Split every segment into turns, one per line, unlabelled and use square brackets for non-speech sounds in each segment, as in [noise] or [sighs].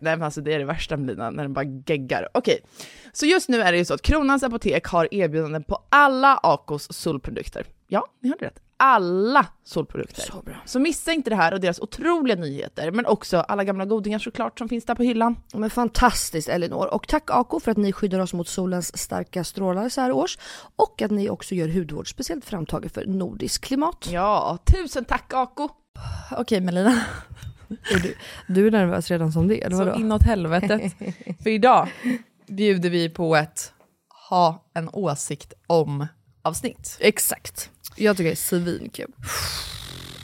nej men alltså det är det värsta med lina, när den bara geggar. Okej, så just nu är det ju så att Kronans Apotek har erbjudanden på alla Acos solprodukter. Ja, ni hörde rätt. Alla solprodukter.
Så bra.
Så missa inte det här och deras otroliga nyheter, men också alla gamla godingar såklart som finns där på hyllan.
Men fantastiskt Elinor. Och tack Ako för att ni skyddar oss mot solens starka strålar så här års. Och att ni också gör hudvård speciellt framtagen för nordiskt klimat.
Ja, tusen tack Ako!
Okej Melina. Är du, du är nervös redan som det, eller
Så
vadå?
inåt
[laughs]
helvetet. För idag bjuder vi på ett ha en åsikt om avsnitt.
Exakt. Jag tycker det är svinkul.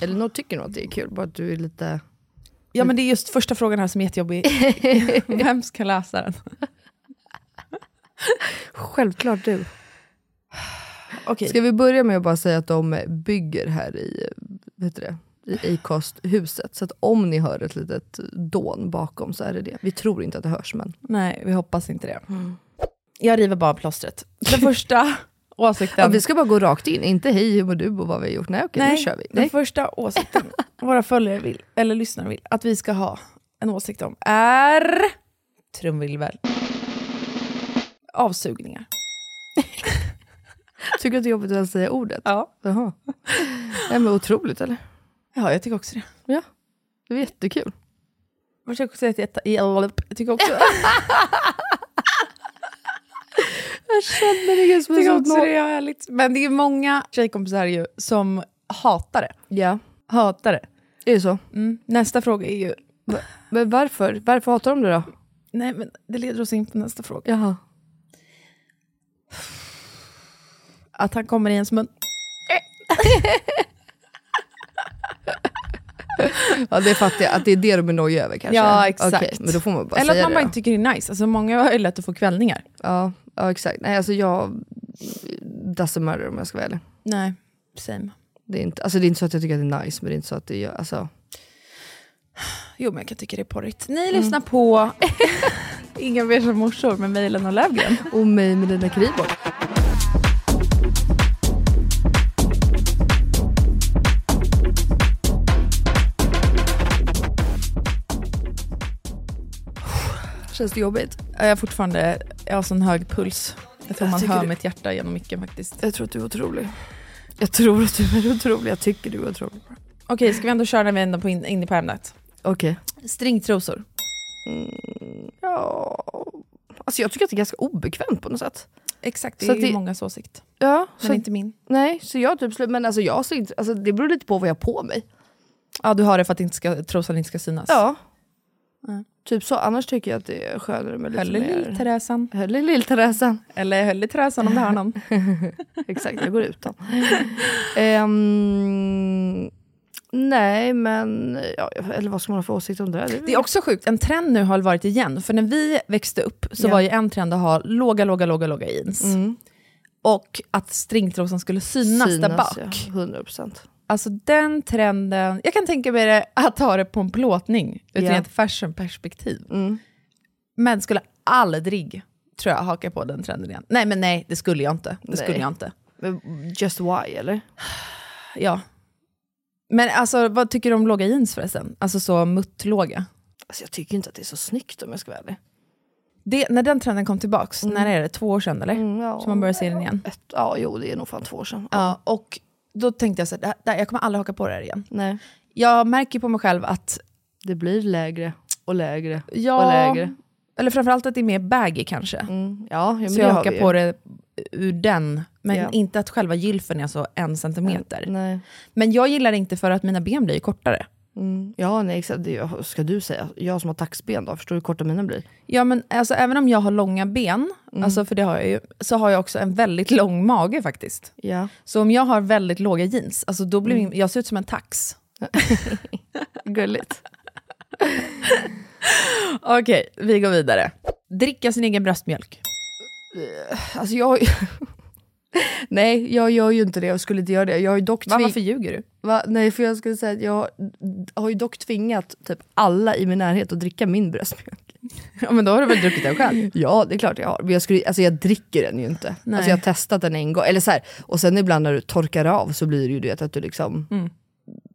Eller någon tycker nog att det är kul, bara att du är lite...
Ja men det är just första frågan här som
[laughs]
är jättejobbig. Vem ska läsa den?
Självklart du.
Okej,
Ska vi börja med att bara säga att de bygger här i, vad heter det? I Acast-huset. Så att om ni hör ett litet dån bakom så är det det. Vi tror inte att det hörs men...
nej vi hoppas inte det.
Mm.
Jag river bara av plåstret. Den första åsikten...
Ja,
[laughs]
vi ska bara gå rakt in, inte hej hur mår du och vad vi har gjort. Nej okej, nu kör vi.
Den
Nej. [laughs]
första åsikten våra följare vill, eller lyssnare vill, att vi ska ha en åsikt om är... Trumvirvel. Avsugningar.
Tycker du att det är jobbigt att ens säga ordet?
Ja.
Jaha. Nej men otroligt eller?
ja, jag tycker också det.
Det var jättekul.
Jag försöker säga att jag, hjälp. jag
[laughs]
tycker också,
Jag känner det just
jag tycker också det är härligt. Men det är många tjejkompisar ju som hatar det.
Ja,
Hatar det.
är det så?
Mm. Nästa fråga är ju...
Men varför? Varför hatar de det då?
Nej, men det leder oss in på nästa fråga.
Jaha.
Att han kommer i ens mun.
Ja, det fattar jag. Att det är det du är nojig över kanske?
Ja, exakt.
Okej, men då får man bara
Eller att
säga
man bara
det.
inte
då.
tycker det är nice. Alltså många har ju lätt att få kvällningar.
Ja, ja, exakt. Nej, alltså jag... Doesn't matter om jag ska vara ärlig.
Nej, same.
Det är, inte, alltså det är inte så att jag tycker att det är nice, men det är inte så att det gör... Alltså,
Jo, men jag kan tycka det är porrigt. Ni lyssnar på Mm. [laughs] Inga beiga morsor med mig Elin och Löfgren.
och mig med dina kribor. Känns det jobbigt?
Jag har fortfarande jag har sån hög puls. Jag tror
Jag
man
tycker
hör
det-
mitt hjärta genom micken faktiskt.
Jag tror att du är otrolig. Jag tror att du är otrolig. Jag tycker du är otrolig.
Okej, ska vi ändå köra när vi är ändå på in, inne på ämnet?
Okej.
Stringtrosor.
Mm, Ja. Alltså jag tycker att det är ganska obekvämt på något sätt.
Exakt, det
Så
är
att
ju
det-
mångas åsikt.
Ja,
Men
så,
inte min.
nej, så jag typ slut. Men alltså jag ser inte, alltså det beror lite på vad jag har på mig.
Ja, du har det för att inte ska, trosan inte ska synas.
Ja.
Mm.
Typ så, annars tycker jag att det är skönare med lite
Höll i
mer...
lill-Teresan.
Höll i lill-Teresan.
Eller höll i Teresan om du hör någon.
[laughs] Exakt, jag går [laughs] utan. Ehm, nej, men... Ja, eller vad ska man ha för åsikt om det där?
Det är också sjukt, en trend nu har varit igen. För när vi växte upp så
Ja.
var ju en trend att ha låga, låga, låga, låga jeans.
Mm.
Och att stringtrosan skulle synas, där bak.
Ja, 100 procent.
Alltså den trenden, jag kan tänka mig det, att ha det på en plåtning utifrån
Ja.
ett fashionperspektiv.
Mm.
Men skulle aldrig, tror jag, haka på den trenden igen. Nej men nej, det skulle jag inte. Det skulle
Nej.
jag inte.
Men Just why, eller?
Ja. Men alltså vad tycker du om låga jeans förresten? Alltså så muttlåga.
Alltså, jag tycker inte att det är så snyggt om jag ska vara ärlig.
Det, när den trenden kom tillbaks, när är det? Två år sedan eller?
Mm, ja.
Så man börjar se den igen.
Ett, ja, jo, det är nog fan två år sedan.
Ja, och då tänkte jag så här, det här- det här, jag kommer aldrig haka på det här igen.
Nej,
Jag märker på mig själv att
det blir lägre och lägre
jag...
och lägre.
Eller framförallt att det är mer baggy kanske.
Mm. Ja, ja, men
Så jag
det har vi
hakar
ju.
på det ur den, men
Ja. Mm.
inte att själva gylfen är så en centimeter.
Nej.
Men jag gillar det inte för att mina ben blir ju kortare.
Mm. Ja, nej, exakt. Det ska du säga. Jag som har taxben då, förstår du hur korta mina blir?
Ja, men alltså, även om jag har långa ben,
Mm.
alltså, för det har jag ju, så har jag också en väldigt lång mage faktiskt.
Ja.
Så om jag har väldigt låga jeans, alltså, då blir min, jag ser ut som en tax.
Gulligt.
Okej, vi går vidare. Dricka sin egen bröstmjölk.
Alltså jag... [laughs] nej, jag gör ju inte det. Jag skulle inte göra det. Jag har ju dock
Va,
tving-
varför ljuger du?
Va? Nej, för jag skulle säga att jag har ju dock tvingat typ alla i min närhet att dricka min bröstmjölk.
Ja, men då har du väl druckit den själv?
[laughs] Ja, det är klart jag har. Men jag, skulle, alltså jag dricker den ju inte.
Nej.
Alltså jag har testat den en gång. Eller så här, och sen ibland när du torkar av så blir det ju det att du liksom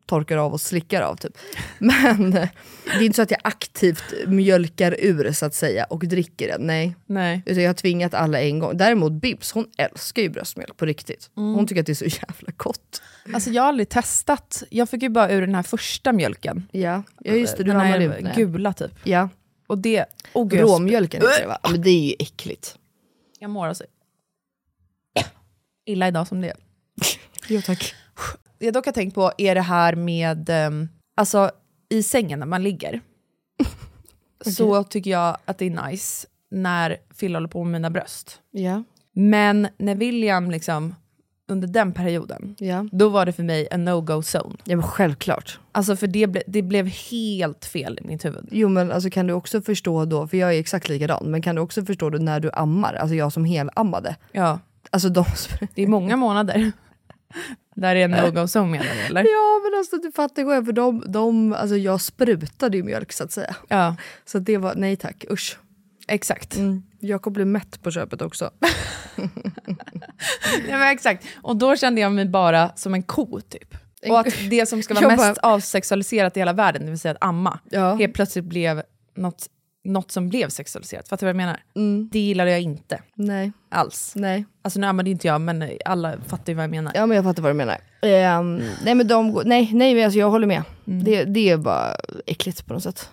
torkar av och slickar av. Typ. [laughs] Men eh, det är inte så att jag aktivt mjölkar ur så att säga och dricker den. Nej.
Nej.
Utan jag har tvingat alla en gång. Däremot Bibs, hon älskar ju bröstmjölk på riktigt. Hon tycker att det är så jävla gott.
Alltså jag har aldrig testat. Jag fick ju bara ur den här första mjölken.
Ja, ja just det. Du
den
ramlade
här
ut. Nej.
gula typ.
Ja.
Och det... Oh, gud, jag
Råmjölken heter det va? Men det är ju äckligt.
Jag mår alltså illa idag som det är.
[laughs] Jo tack.
Jag dock har tänkt på är det här med, ehm, alltså i sängen när
[laughs]
man ligger, så tycker jag att det är nice när Phil håller på med mina bröst.
Ja,
Men när William liksom, under den perioden,
ja.
då var det för mig en no-go zone.
Ja men självklart.
Alltså för det, ble, det blev helt fel i mitt huvud.
Jo men alltså kan du också förstå då, för jag är exakt likadan, men kan du också förstå då när du ammar, alltså jag som helammade.
Ja,
Alltså de
det är många månader. [laughs] Där är en no-go zone menar du eller?
Ja men alltså du fattar själv, för de, de, alltså jag sprutade ju mjölk så att säga.
Ja,
Så att det var, nej tack, usch.
exakt.
Jakob blev mätt på köpet också. [laughs]
Ja, men exakt. Och då kände jag mig bara som en ko typ. Och att det som ska vara
Jag
mest avsexualiserat i hela världen, det vill säga att amma,
Ja.
helt plötsligt blev något, något som blev sexualiserat. Fattar du vad jag menar?
Mm.
Det gillade jag inte
Nej,
alls.
nej.
Alltså nu ammade inte jag, men alla fattar ju vad jag menar.
Ja men jag fattar vad du menar. Ehm, nej men de, går- nej, nej men alltså jag håller med. Det, det är bara äckligt på något sätt.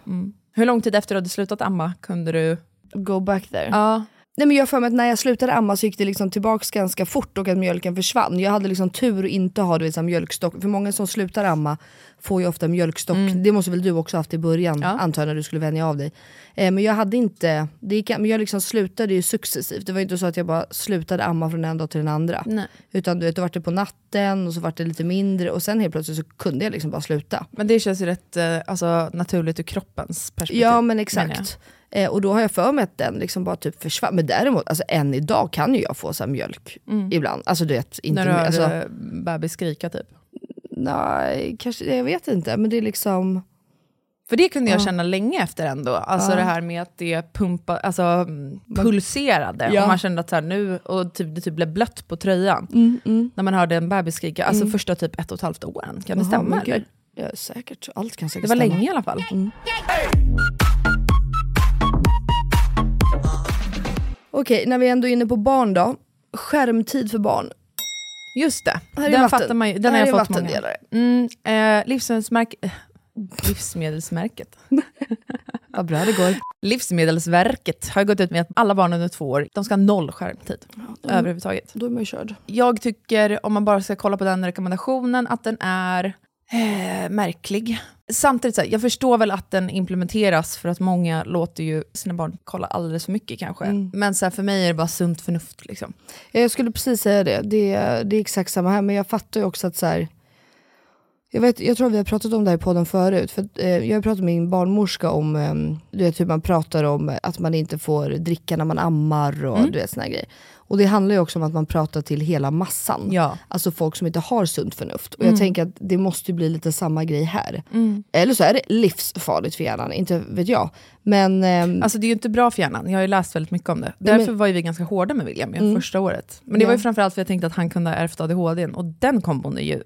Hur lång tid efter du hade slutat amma kunde du...
Go back there.
Ja.
Nej men jag har för mig att när jag slutade amma så gick det liksom tillbaks ganska fort och att mjölken försvann. Jag hade liksom tur att inte ha du vet, så här mjölkstock, för många som slutar amma får ju ofta mjölkstock. Det måste väl du också haft i början antar jag när du skulle vänja av dig. Eh, men jag hade inte, det gick, men jag liksom slutade ju successivt. Det var ju inte så att jag bara slutade amma från en dag till den andra.
Nej.
Utan du vet, då vart det på natten och så vart det lite mindre och sen helt plötsligt så kunde jag liksom bara sluta.
Men det känns ju rätt eh, alltså, naturligt ur kroppens perspektiv.
Ja men
menar
exakt. Eh, och då har jag för mig att den liksom bara typ försvann. Men däremot, alltså, än idag kan ju jag få så här mjölk ibland. Alltså du vet, inte
Mm. När du hör
alltså,
eh, bebis skrika typ.
Nej, kanske, jag vet inte. Men det är liksom...
För det kunde jag känna länge efter ändå. Alltså det här med att det pumpa, alltså, mm, pulserade.
Ja.
Och man kände att så här, nu,
Alltså,
och typ, det typ blev blött på tröjan. När man hörde en bebis skrika. Alltså första typ ett och ett halvt åren. Kan det stämma?
Mm. men gud. Mm.
eller?
Ja, säkert. Allt kan säkert
Det var
stämma.
länge i alla fall.
Okej, när vi ändå är inne på barn då. Skärmtid för barn.
Just det.
är
den
vatten-
fattar man ju. Den
här
har jag
är
fått många.
vattendelare.
Mm, eh, livsmedelsmärk- eh, [laughs] livsmedelsmärket.
Vad bra det går.
Livsmedelsverket har gått ut med att alla barn under två år de ska ha noll skärmtid.
Mm.
Överhuvudtaget.
Då är man ju körd.
Jag tycker, om man bara ska kolla på den rekommendationen, att den är eh, märklig. Samtidigt, så här, jag förstår väl att den implementeras för att många låter ju sina barn kolla alldeles för mycket kanske. Men så här, för mig är det bara sunt förnuft. Liksom.
Jag skulle precis säga det. det. Det är exakt samma här, men jag fattar ju också att så här, jag, vet, jag tror vi har pratat om det här i podden förut. För, att, eh, jag har pratat med min barnmorska om eh, du vet, hur man pratar om att man inte får dricka när man ammar och
Mm.
du vet, såna här grejer. Och det handlar ju också om att man pratar till hela massan.
Ja. Mm.
Alltså folk som inte har sunt förnuft. Och jag tänker att det måste ju bli lite samma grej här. Eller så är det livsfarligt för hjärnan, inte vet jag. Men ehm,
Alltså det är ju inte bra för hjärnan, jag har ju läst väldigt mycket om det. Därför var ju vi ganska hårda med William i första året. Men det var ju framförallt för att jag tänkte att han kunde ha ärvt ADHD, n, och den kombon är ju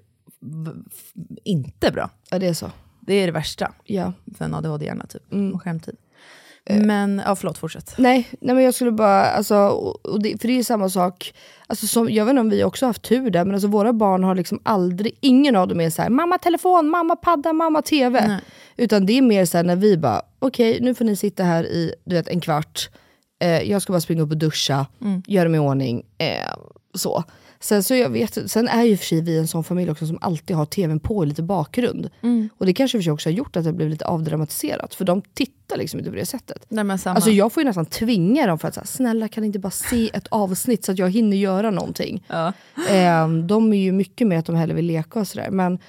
v- f- inte bra.
ja, det är så.
Det är det värsta
Ja.
för en ADHD-hjärna typ, och skärmtid. Men, ja förlåt, fortsätt.
Nej, nej men jag skulle bara, alltså, och och det, för det är ju samma sak, alltså, som, jag vet inte om vi också har haft tur där, men alltså, våra barn har liksom aldrig, ingen av dem är så här, mamma telefon, mamma padda, mamma tv. Utan det är mer så här när vi bara, okej nu får ni sitta här i du vet, en kvart, eh, jag ska bara springa upp och duscha, göra mig i ordning. Eh, så. Sen, så jag vet, sen är ju för sig vi en sån familj också som alltid har tvn på i lite bakgrund. Och det kanske för sig också har gjort att det blev lite avdramatiserat, för de tittar liksom inte på det sättet.
Nej, men samma.
Alltså jag får ju nästan tvinga dem för att säga, snälla kan ni inte bara se ett avsnitt så att jag hinner göra någonting. Ehm, de är ju mycket mer att de hellre vill leka och sådär. Men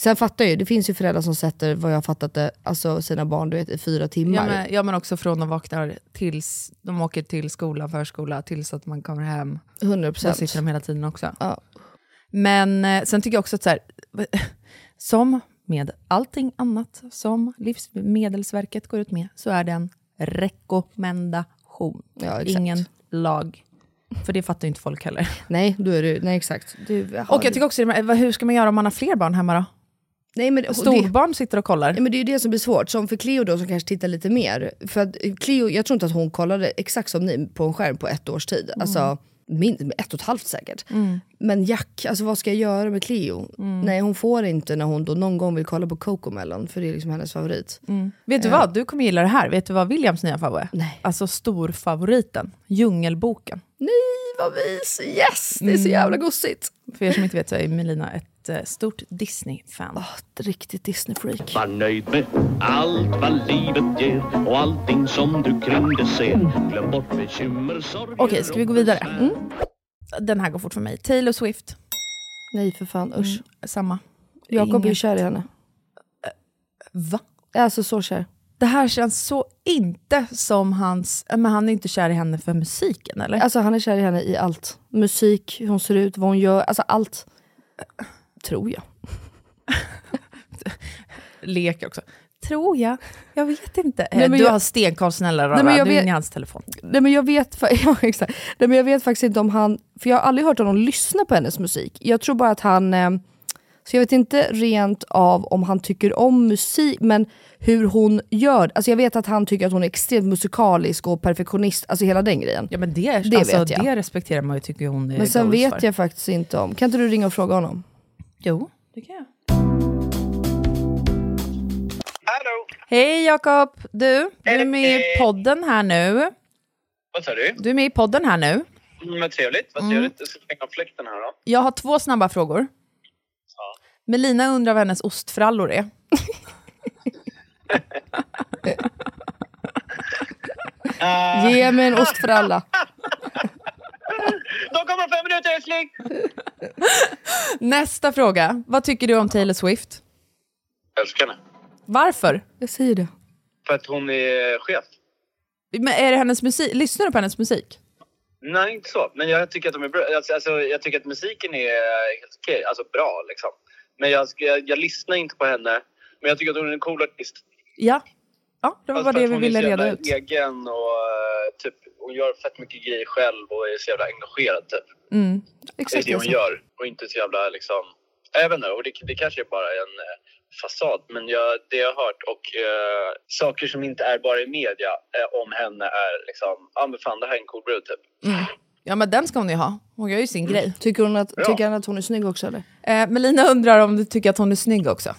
sen fattar jag ju, det finns ju föräldrar som sätter, vad jag har fattat det, alltså sina barn du vet, i fyra timmar.
Ja men, ja men också från de vaknar tills de åker till skola, förskola, tills att man kommer hem.
100
Så
procent.
sitter de hela tiden också.
Ja.
Men eh, sen tycker jag också att så här, [laughs] som med allting annat som Livsmedelsverket går ut med så är det en rekommendation.
Ja, exakt.
Ingen lag. För det fattar ju inte
[laughs]
folk heller.
Nej, då är det, nej exakt. Du, jaha,
Och jag tycker också, det- vad- hur ska man göra om man har fler barn hemma då?
nej, men, och det,
Storbarn sitter och kollar.
nej, men det är ju det som blir svårt, som för Cleo då som kanske tittar lite mer. För att Cleo, jag tror inte att hon kollade exakt som ni på en skärm på ett års tid. Alltså, min, ett och ett halvt säkert. Men Jack, alltså vad ska jag göra med Cleo? Nej hon får inte när hon då någon gång vill kolla på Cocomelon, för det är liksom hennes favorit.
Vet du vad, du kommer gilla det här. Vet du vad Williams nya favorit är?
Nej.
Alltså storfavoriten, Djungelboken.
Nej vad vis, yes! Det är så jävla gossigt.
För er som inte vet så är Melina ett eh, stort Disney-fan.
Ah, ett riktigt Disney-freak.
Var nöjd med allt vad livet ger och allting som du kring dig ser. Glöm bort bekymmer, sorger
Okej, ska vi gå vidare? Mm. Den här går fort för mig. Taylor Swift,
Nej för fan, usch.
samma.
Jakob är ju
Inget.
kär i henne. Äh,
Va?
Alltså så kär.
Det här känns så inte som hans... Men han är inte kär i henne för musiken, eller?
Alltså han är kär i henne i allt. Musik, hur hon ser ut, vad hon gör, alltså allt. Tror jag.
[laughs] Lek också. Tror jag. Jag vet inte.
Nej,
Eh,
men
du
jag-
har stenkoll snälla rara.
Nej, men jag
du
vet-
är inne i hans telefon.
Nej men jag vet, fa- [laughs] ja, exakt. Nej, men jag vet faktiskt inte om han, för jag har aldrig hört honom lyssna på hennes musik. Jag tror bara att han, eh, så jag vet inte rent av om han tycker om musik, men hur hon gör. Alltså jag vet att han tycker att hon är extremt musikalisk och perfektionist, alltså hela den grejen.
Ja, men det,
Det
alltså,
vet jag.
det respekterar man ju, tycker hon är
men sen
goals
vet
för.
jag faktiskt inte om, kan inte du ringa och fråga honom?
Jo, det kan jag. Hej Jakob! Du, du är med i podden här nu.
Vad sa du?
Du är med i podden här nu.
Mm, vad trevligt. Vad
Mm.
trevligt. Jag ska slänga av fläkten här då.
Jag har två snabba frågor.
Ja.
Melina undrar vad hennes ostfrallor är.
Ah,
Ge mig en ost för alla.
2,5 minuter älskling!
Nästa fråga. Vad tycker du om Taylor Swift?
Älskar henne.
Varför?
Jag säger det.
För att hon är chef.
Men är det hennes musik? Lyssnar du på hennes musik?
Nej, inte så. Men jag tycker att de är bra. Alltså, alltså, jag tycker att musiken är helt okej. Alltså bra liksom. Men jag, ska- jag, jag lyssnar inte på henne. Men jag tycker att hon är en cool artist.
Ja. Ja, det var
Fast
bara
för
det
Alltså, att
vi
hon är
ville
så jävla
reda ut.
egen och eh, typ, hon gör fett mycket grejer själv och är så jävla engagerad typ.
Mm.
Det är
Exakt.
det hon
alltså.
gör. Och inte så jävla liksom... Jag vet inte, och det, det kanske är bara en eh, fasad. Men jag, det jag har hört och eh, saker som inte är bara i media eh, om henne är liksom... Ja ah, men fan det här är en cool brud typ.
Ja, men den ska hon ju ha. Hon gör ju sin grej.
Tycker, hon att,
Bra.
tycker han att hon är snygg också eller?
Eh, Melina undrar om du tycker att hon är snygg också.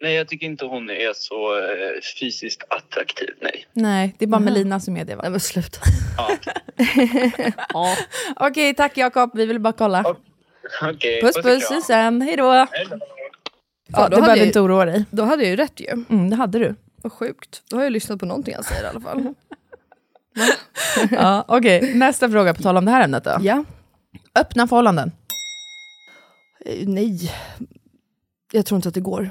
Nej jag tycker inte hon är så eh, fysiskt attraktiv, nej.
Nej, det är bara Melina som är det va?
Nej men sluta.
Ja.
Okej, tack Jakob. Vi ville bara kolla.
Okej,
Puss
och
puss,
kram.
ses sen. Hej då.
Hej då.
Ja,
Ja,
då,
du
hade
behöver
jag,
inte oroa dig.
då hade jag ju rätt ju.
Mm, det hade du.
Vad sjukt. Då har jag lyssnat på någonting han säger i alla fall.
[laughs] Ja, Okej, nästa fråga på tal om det här ämnet då.
Ja.
Öppna förhållanden.
Eh, Nej. Jag tror inte att det går.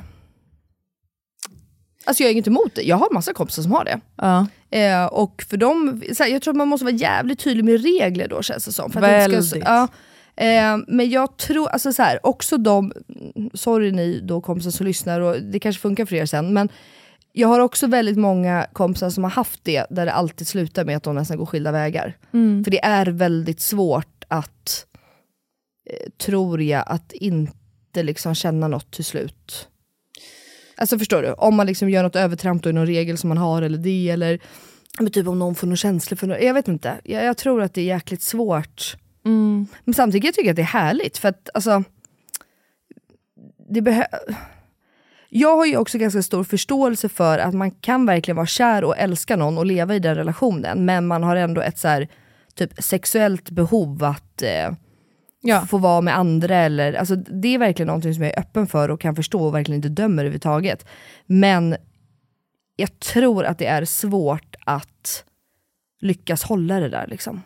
Alltså jag är inget emot det. Jag har massa kompisar som har det.
Ja.
Eh, och för dem, så här, jag tror att man måste vara jävligt tydlig med regler då känns det som. För att det inte
Väldigt.
ja. eh, men jag tror, alltså så här, också de, sorry ni då kompisar som lyssnar, och det kanske funkar för er sen, men jag har också väldigt många kompisar som har haft det, där det alltid slutar med att de nästan går skilda vägar. För det är väldigt svårt att, eh, tror jag, att inte liksom känna något till slut. Alltså förstår du? Om man liksom gör något övertramp då i någon regel som man har eller det eller men typ om någon får någon känsla för något. Jag vet inte. Jag, jag tror att det är jäkligt svårt. Men samtidigt tycker jag att det är härligt för att alltså, det behö- jag har ju också ganska stor förståelse för att man kan verkligen vara kär och älska någon och leva i den relationen men man har ändå ett så här, typ sexuellt behov att eh,
Ja.
få vara med andra. Eller, alltså, det är verkligen någonting som jag är öppen för och kan förstå och verkligen inte dömer överhuvudtaget. Men jag tror att det är svårt att lyckas hålla det där. Liksom.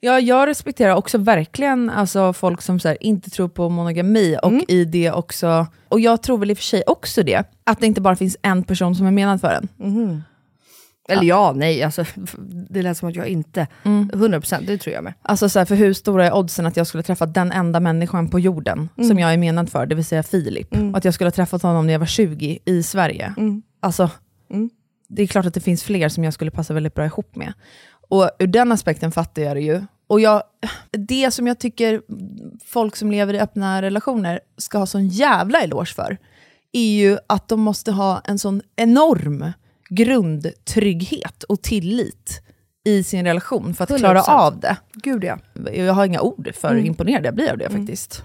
Ja, jag respekterar också verkligen alltså, folk som så här, inte tror på monogami och i det också, och jag tror väl i och för sig också det, att det inte bara finns en person som är menad för en.
Eller ja, Mm. nej, alltså, [laughs] det lät som att jag inte... 100% det tror jag med.
Alltså så här, för hur stora är oddsen att jag skulle träffa den enda människan på jorden som jag är menad för, det vill säga Filip. Och att jag skulle ha träffat honom när jag var 20 i Sverige. Alltså,
Mm.
det är klart att det finns fler som jag skulle passa väldigt bra ihop med. Och ur den aspekten fattar jag det ju. Och jag, det som jag tycker folk som lever i öppna relationer ska ha sån jävla eloge för, är ju att de måste ha en sån enorm grundtrygghet och tillit i sin relation för att klara
100%.
av det
Gud ja. Mm.
jag har inga ord för hur imponerad jag blir av det faktiskt.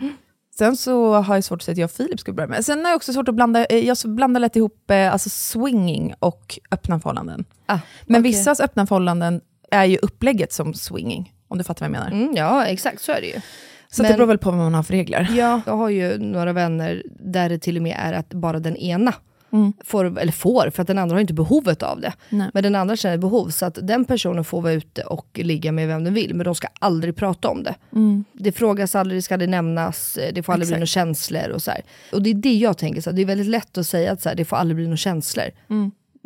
Sen så har jag svårt att säga att jag och Filip skulle börja med. Sen har jag också svårt att blanda, eh, jag blandar lätt ihop eh, alltså swinging och öppna förhållanden.
Ah,
Men
okej.
vissas öppna förhållanden är ju upplägget som swinging, om du fattar vad jag menar.
Mm, ja, exakt så är det ju.
Så att
men-
det beror väl på vad man har för regler.
Ja. Jag har ju några vänner där det till och med är att bara den ena får, eller får, för att den andra har inte behovet av det.
Nej.
Men den andra känner behov, så att den personen får vara ute och ligga med vem den vill, men de ska aldrig prata om det. Det frågas aldrig, det ska aldrig nämnas, eh, det får aldrig bli
Exakt.
några känslor och så här. Och det är det jag tänker, så här, det är väldigt lätt att säga att så här, det får aldrig bli några känslor.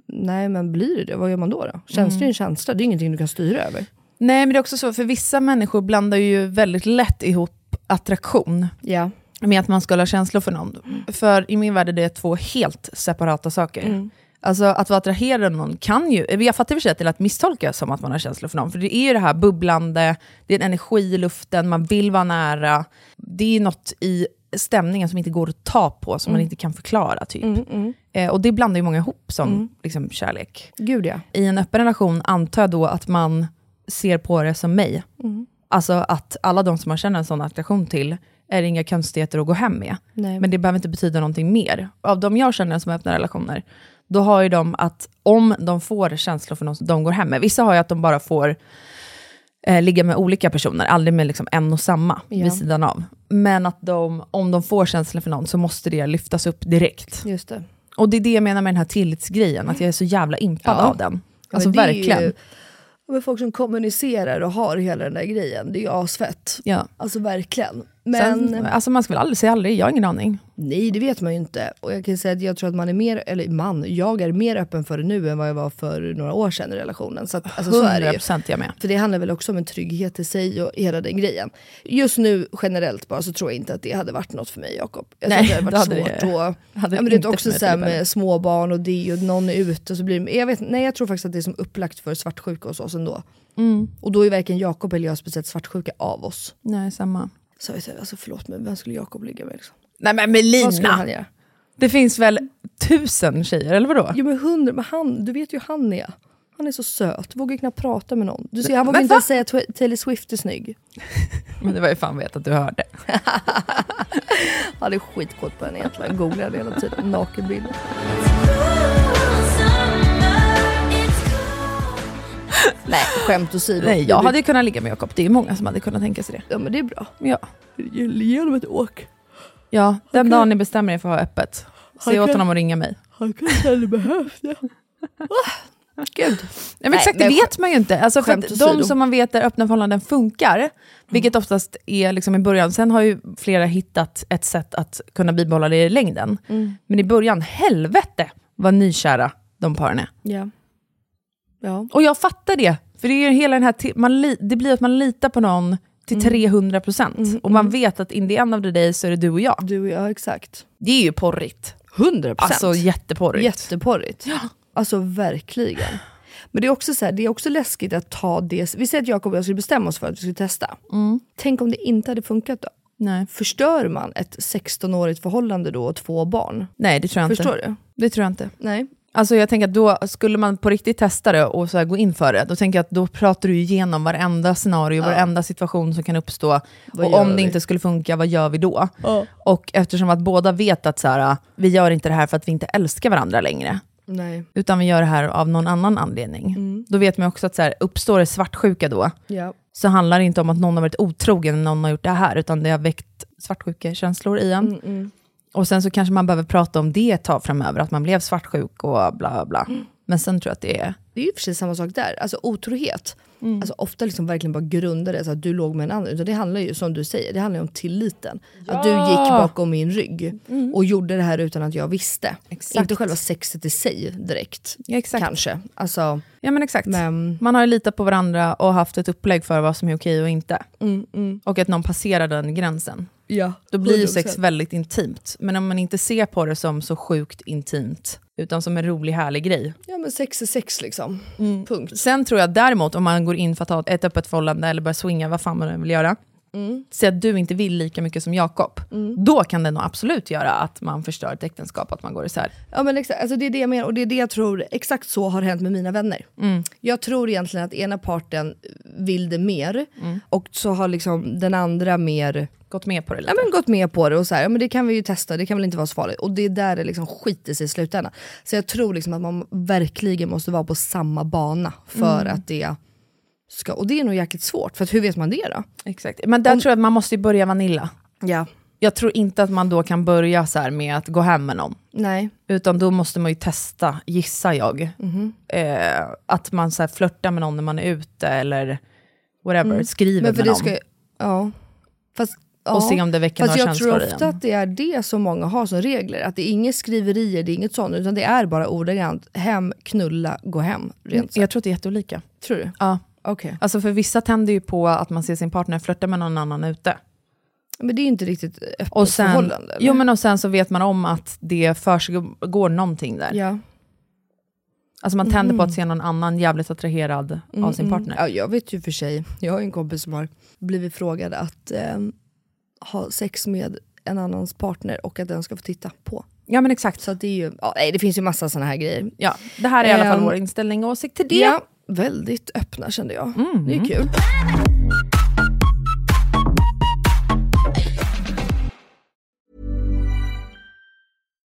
Nej men blir det det, vad gör man då? då? Känslor är ju en känsla, det är ingenting du kan styra över.
Nej, men det är också så, för vissa människor blandar ju väldigt lätt ihop attraktion
Ja.
med att man ska ha känslor för någon. För i min värld är det två helt separata saker. Alltså att vara attraherad av någon kan ju, jag fattar i och för sig att det är att misstolka som att man har känslor för någon, för det är ju det här bubblande, det är en energi i luften, man vill vara nära. Det är ju något i stämningen som inte går att ta på, som man inte kan förklara typ. Eh, och det blandar ju många ihop som liksom, kärlek.
Gud ja.
I en öppen relation antar jag då att man ser på det som mig. Alltså att alla de som man känner en sån attraktion till är inga konstigheter att gå hem med.
Nej.
Men det behöver inte betyda någonting mer. Av de jag känner som har öppna relationer, då har ju de att om de får känslor för någon som de går hem med, vissa har ju att de bara får eh, ligga med olika personer, aldrig med liksom en och samma vid sidan av. Men att de, om de får känslor för någon så måste det lyftas upp direkt.
Just det.
Och det är det jag menar med den här tillitsgrejen, att jag är så jävla impad
Ja.
av den. Alltså
men det är
verkligen.
Ju, ja, men folk som kommunicerar och har hela den där grejen, det är ju asfett.
Ja.
Alltså verkligen. Men
Men... Sen, alltså man ska väl aldrig säga aldrig, jag har ingen aning.
nej, det vet man ju inte. Och jag kan säga att jag tror att man är mer, eller man, jag är mer öppen för det nu än vad jag var för några år sedan i relationen. Så, att, alltså, så är det ju.
100% jag med.
För det handlar väl också om en trygghet i sig och hela den grejen. Just nu generellt bara så tror jag inte att det hade varit något för mig Jakob. Jag tror
Nej,
att det hade
då
varit
hade
svårt
det-
och,
hade
ja, men det är
inte
också
för mig
så här
typ heller.
med småbarn och det och någon är ute och så blir det, jag vet, nej jag tror faktiskt att det är som upplagt för svartsjuka hos oss ändå.
Mm.
Och då är varken Jakob eller jag speciellt svartsjuka av oss.
Nej, samma.
Så jag säger, alltså förlåt men vem skulle Jakob ligga med liksom?
Nej men
Vad skulle
Melina!
han göra?
Det finns väl tusen tjejer, eller vadå?
Jo men hundra, men han, du vet ju hur han är. Han är så söt, vågar knappt prata med någon. Du ser, han vågar
Men
inte
va?
ens säga att Taylor Swift är snygg.
[laughs] Men det var ju fan vet att
[laughs]
du hörde.
Han är skitkåt på henne egentligen. Googlar hela tiden. Nakenbilder. Nej, skämt åsido.
Nej, jag hade ju kunnat ligga med Jakob. Det är ju många som hade kunnat tänka sig det.
Ja men det är bra.
Ja,
Ge honom ett åk.
ja den dagen ni bestämmer er för att ha öppet, säg åt
Okej.
honom att ringa mig.
Han kanske hade behövt det. Gud.
Nej, men
Nej,
exakt,
men
det vet man ju inte. Alltså, för
skämt
att
åsido.
de som man vet där öppna förhållanden funkar, vilket oftast är liksom i början, sen har ju flera hittat ett sätt att kunna bibehålla det i längden.
Mm.
Men i början, helvete vad nykära de paren är.
Ja. Ja.
Och jag fattar det, för det är ju hela den här, ti- man, li- det blir att man litar på någon till 300 procent. Och man vet att in the end of the day så är det du och jag.
Du och jag, exakt.
Det är ju porrigt.
100
Alltså jätteporrigt.
Jätteporrigt. Alltså verkligen. Men det är, också så här, det är också läskigt att ta det... Vi säger att Jakob och jag skulle bestämma oss för att vi skulle testa. Tänk om det inte hade funkat då?
Mm. Nej.
Förstör man ett 16-årigt förhållande då och två barn?
Nej, det tror jag inte.
Förstår du?
Det tror jag inte.
Nej.
Alltså jag tänker att då skulle man på riktigt testa det och så här gå in för det, då tänker jag att då pratar du igenom varenda scenario, varenda situation som kan uppstå.
Vad
och
gör
om det
vi?
inte skulle funka, vad gör vi då? Och eftersom att båda vet att så här, "Ah, vi gör inte det här för att vi inte älskar varandra längre,
Nej.
utan vi gör det här av någon annan anledning.
Mm.
Då vet man ju också att så här, uppstår det svartsjuka då,
Ja.
så handlar det inte om att någon har varit otrogen eller någon har gjort det här, utan det har väckt svartsjuka känslor i en.
Mm,
Och sen så kanske man behöver prata om det ett tag framöver, att man blev svartsjuk och bla bla bla.
Mm.
Men sen tror jag att det är...
Det är ju precis samma sak där. Alltså otrohet.
Mm.
Alltså, ofta liksom verkligen bara grundar det så att du låg med en annan. Utan det handlar ju som du säger, det handlar ju om tilliten. Att du gick bakom min rygg och gjorde det här utan att jag visste.
Mm. Exakt.
Inte själva sexet i sig direkt.
Ja, exakt.
Kanske. Alltså, ehm,
Ja men exakt.
Men-
Man har ju litat på varandra och haft ett upplägg för vad som är okej och inte. Och att någon passerar den gränsen.
ja,
Då blir ju sex väldigt intimt. Men om man inte ser på det som så sjukt intimt, utan som en rolig härlig grej,
Ja men sex är sex liksom.
Mm.
Punkt.
Sen tror jag däremot, om man går in för att ha ett öppet förhållande eller börjar swinga, vad fan man än vill göra, se att du inte vill lika mycket som Jakob. Då kan det nog absolut göra att man förstör ett äktenskap, att man går isär.
Ja men exakt, alltså det är det jag menar och det är det jag tror, exakt så har hänt med mina vänner.
Mm.
Jag tror egentligen att ena parten vill det mer
Mm.
och så har liksom den andra mer
Gått med på det lite.
ja, men gått med på det och så här, ja, men det kan vi ju testa, det kan väl inte vara så farligt. Och det är där det liksom skiter sig i slutändan. Så jag tror liksom att man verkligen måste vara på samma bana för
Mm.
att det ska, och det är nog jäkligt svårt, för att hur vet man det då?
Exakt. Men där tror jag att man måste ju börja vanilla.
Ja.
Jag tror inte att man då kan börja så här med att gå hem med någon.
Nej.
Utan då måste man ju testa, gissar jag.
Mm-hmm.
Eh, att man så här flörtar med någon när man är ute eller whatever, skriver
Mm. Men för
med
det
någon.
ska ju- ja. Fast, ja.
Och se om det väcker
Fast
några
jag tror
känslor i
ofta
en.
att det är det som många har som regler, att det är inget skriverier, det är inget sånt, utan det är bara ordagrant hem, knulla, gå hem. Rent sagt.
Jag tror att det är jätteolika.
Tror du?
Ja.
Okej.
Alltså för vissa tänder ju på att man ser sin partner flörta med någon annan ute.
Men det är ju inte riktigt öppet
Och sen,
förhållande. eller?
jo, men och sen så vet man om att det försiggår någonting där.
ja.
Alltså man tänder på att se någon annan jävligt attraherad av sin partner.
Ja, jag vet ju för sig, jag har ju en kompis som har blivit frågad att eh, ha sex med en annans partner och att den ska få titta på.
Ja men exakt.
Så att det är ju, ja, nej, det finns ju massa sådana här grejer.
Ja, det här är i alla fall
Ehm,
vår inställning och åsikt till det. Mm.
Ja, väldigt öppna kände jag. Det är kul.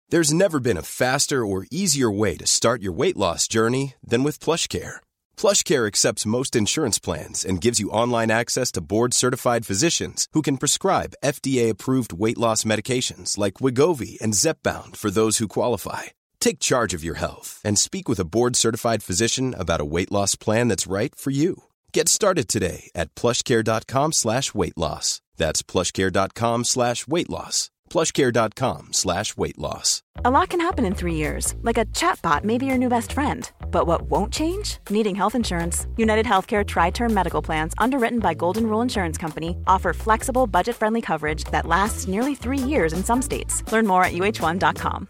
There's never been a faster or easier way to start your weight loss journey than with PlushCare. PlushCare accepts most insurance plans and gives you online access to board-certified physicians who can prescribe FDA-approved weight loss medications like Wigovi and Zepbound for those who qualify. Take charge of your health and speak with a board-certified physician about a weight loss plan that's right for you. Get started today at plushcare.com slash weight loss. That's plushcare.com slash weight loss. Plushcare.com slash weight loss.
A lot can happen in three years, like a chatbot may be your new best friend. But what won't change? Needing health insurance. United Healthcare Tri Term Medical Plans, underwritten by Golden Rule Insurance Company, offer flexible, budget friendly coverage that lasts nearly three years in some states. Learn more at uh1.com.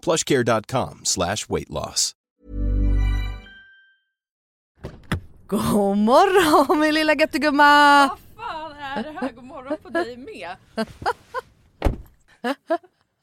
plushcare.com slash weight loss.
God morgon min lilla göttegumma!
fan är det här? God morgon på dig [laughs] med.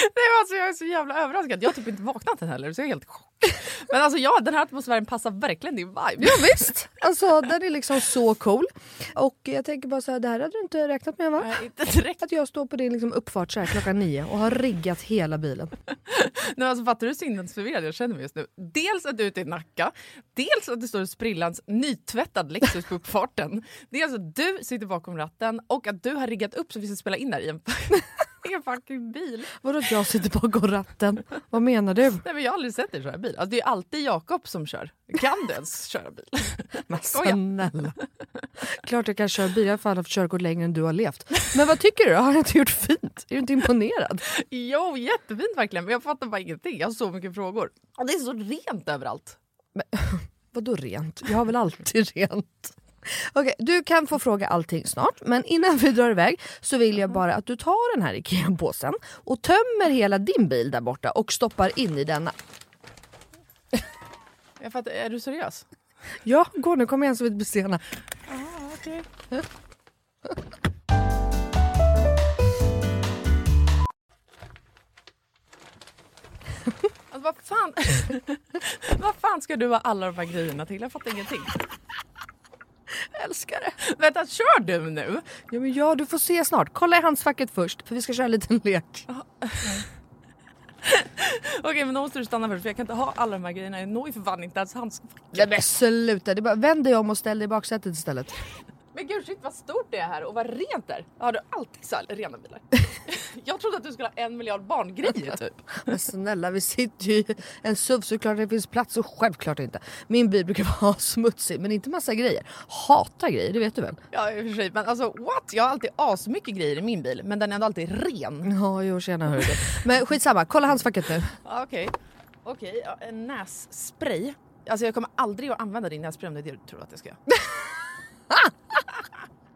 Nej, men alltså, jag är så jävla överraskad. Jag har typ inte vaknat än heller så jag är helt i chock. Men alltså ja, den här atmosfären passar verkligen din vibe.
Ja, visst, alltså den är liksom så cool. Och jag tänker bara så här, det här hade du inte räknat med va?
Nej, [laughs] inte direkt.
Att jag står på din liksom uppfart så här klockan nio och har riggat hela bilen.
Nej, alltså, fattar du hur sinnesförvirrad jag känner mig just nu? Dels att du är ute i Nacka, dels att du står i sprillans nytvättad Lexus på uppfarten. Dels att du sitter bakom ratten och att du har riggat upp så vi ska spela in där i en, [laughs] i en fucking bil.
Vadå att jag sitter bakom ratten? Vad menar du?
Nej, men jag har aldrig sett dig köra bil. Alltså, det är ju alltid Jakob som kör. Kan du ens köra bil? Skoja.
Snälla. Klart jag kan köra bil, jag har fan haft körkort längre än du har levt. Men vad tycker du? Har jag inte gjort fint? Är du inte imponerad?
Jo, jättefint verkligen. Men jag fattar bara ingenting. Jag har så mycket frågor. Och det är så rent överallt.
Vadå rent? Jag har väl alltid rent? Okej, du kan få fråga allting snart, men innan vi drar iväg så vill jag bara att du tar den här IKEA-påsen och tömmer hela din bil där borta och stoppar in i denna.
Jag fattar, är du seriös?
Ja, gå nu, kom igen så vi inte blir sena.
Alltså, vad, fan... [laughs] vad fan ska du ha alla de här grejerna till? Jag fattar ingenting. Jag älskar det. Vänta, kör du nu?
Ja, men ja, du får se snart. Kolla i handskfacket först, för vi ska köra en liten lek.
Okej, men då måste du stanna först för jag kan inte ha alla de här grejerna. Jag når ju för fan inte ens hans...
Nej men sluta, det är bara, vänd dig om och ställ dig i baksätet istället.
Men gud shit vad stort det är här och vad rent det är. Har du alltid så här rena bilar? [laughs] jag trodde att du skulle ha en miljard
[laughs]
barngrejer typ.
Men snälla vi sitter ju i en SUV såklart det finns plats och självklart inte. Min bil brukar [laughs] vara smutsig men inte massa grejer. Hata grejer, det vet du väl?
Ja i och för sig men alltså what? Jag har alltid asmycket grejer i min bil men den är ändå alltid ren.
Ja jo tjena hörru du. Men skitsamma, kolla handskfacket nu.
Ja, Okej, okej ja, en nässpray. Alltså jag kommer aldrig att använda din nässpray om det är det du tror att jag ska göra. [laughs]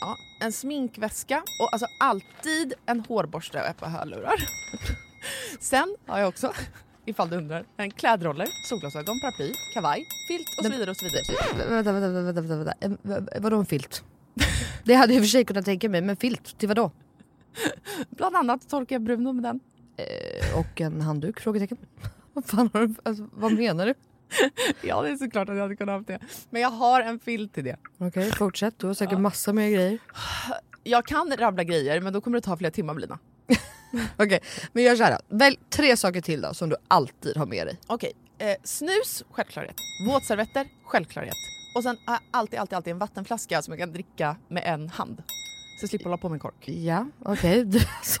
Ja, en sminkväska och alltså [laughs] alltid en hårborste och ett par hörlurar. Sen har jag också ifall du undrar. En klädroller, solglasögon, paraply, kavaj, filt och så vidare. Och så vidare.
Vänta, vänta, vänta, vänta, vänta. En- v- Vadå en [laughs] filt? Det hade jag i och för sig kunnat tänka mig, men filt till vadå?
Bland annat torkar jag Bruno med den. [laughs]
Eh, Och en handduk? Frågetecken. [laughs] Vad fan har du, alltså, vad menar du?
Ja, det är såklart att jag hade kunnat ha haft det. Men jag har en filt till det.
Okej, fortsätt. Du har säkert massa mer grejer.
Jag kan rabbla grejer, men då kommer det ta flera timmar Blina.
Okej, men gör så här då. Välj tre saker till då som du alltid har med dig.
Okej, eh, snus, självklarhet. Våtservetter, självklarhet. Och sen eh, alltid, alltid, alltid en vattenflaska som jag kan dricka med en hand. Så jag slipper hålla på med en kork.
Ja, okej. Du, alltså,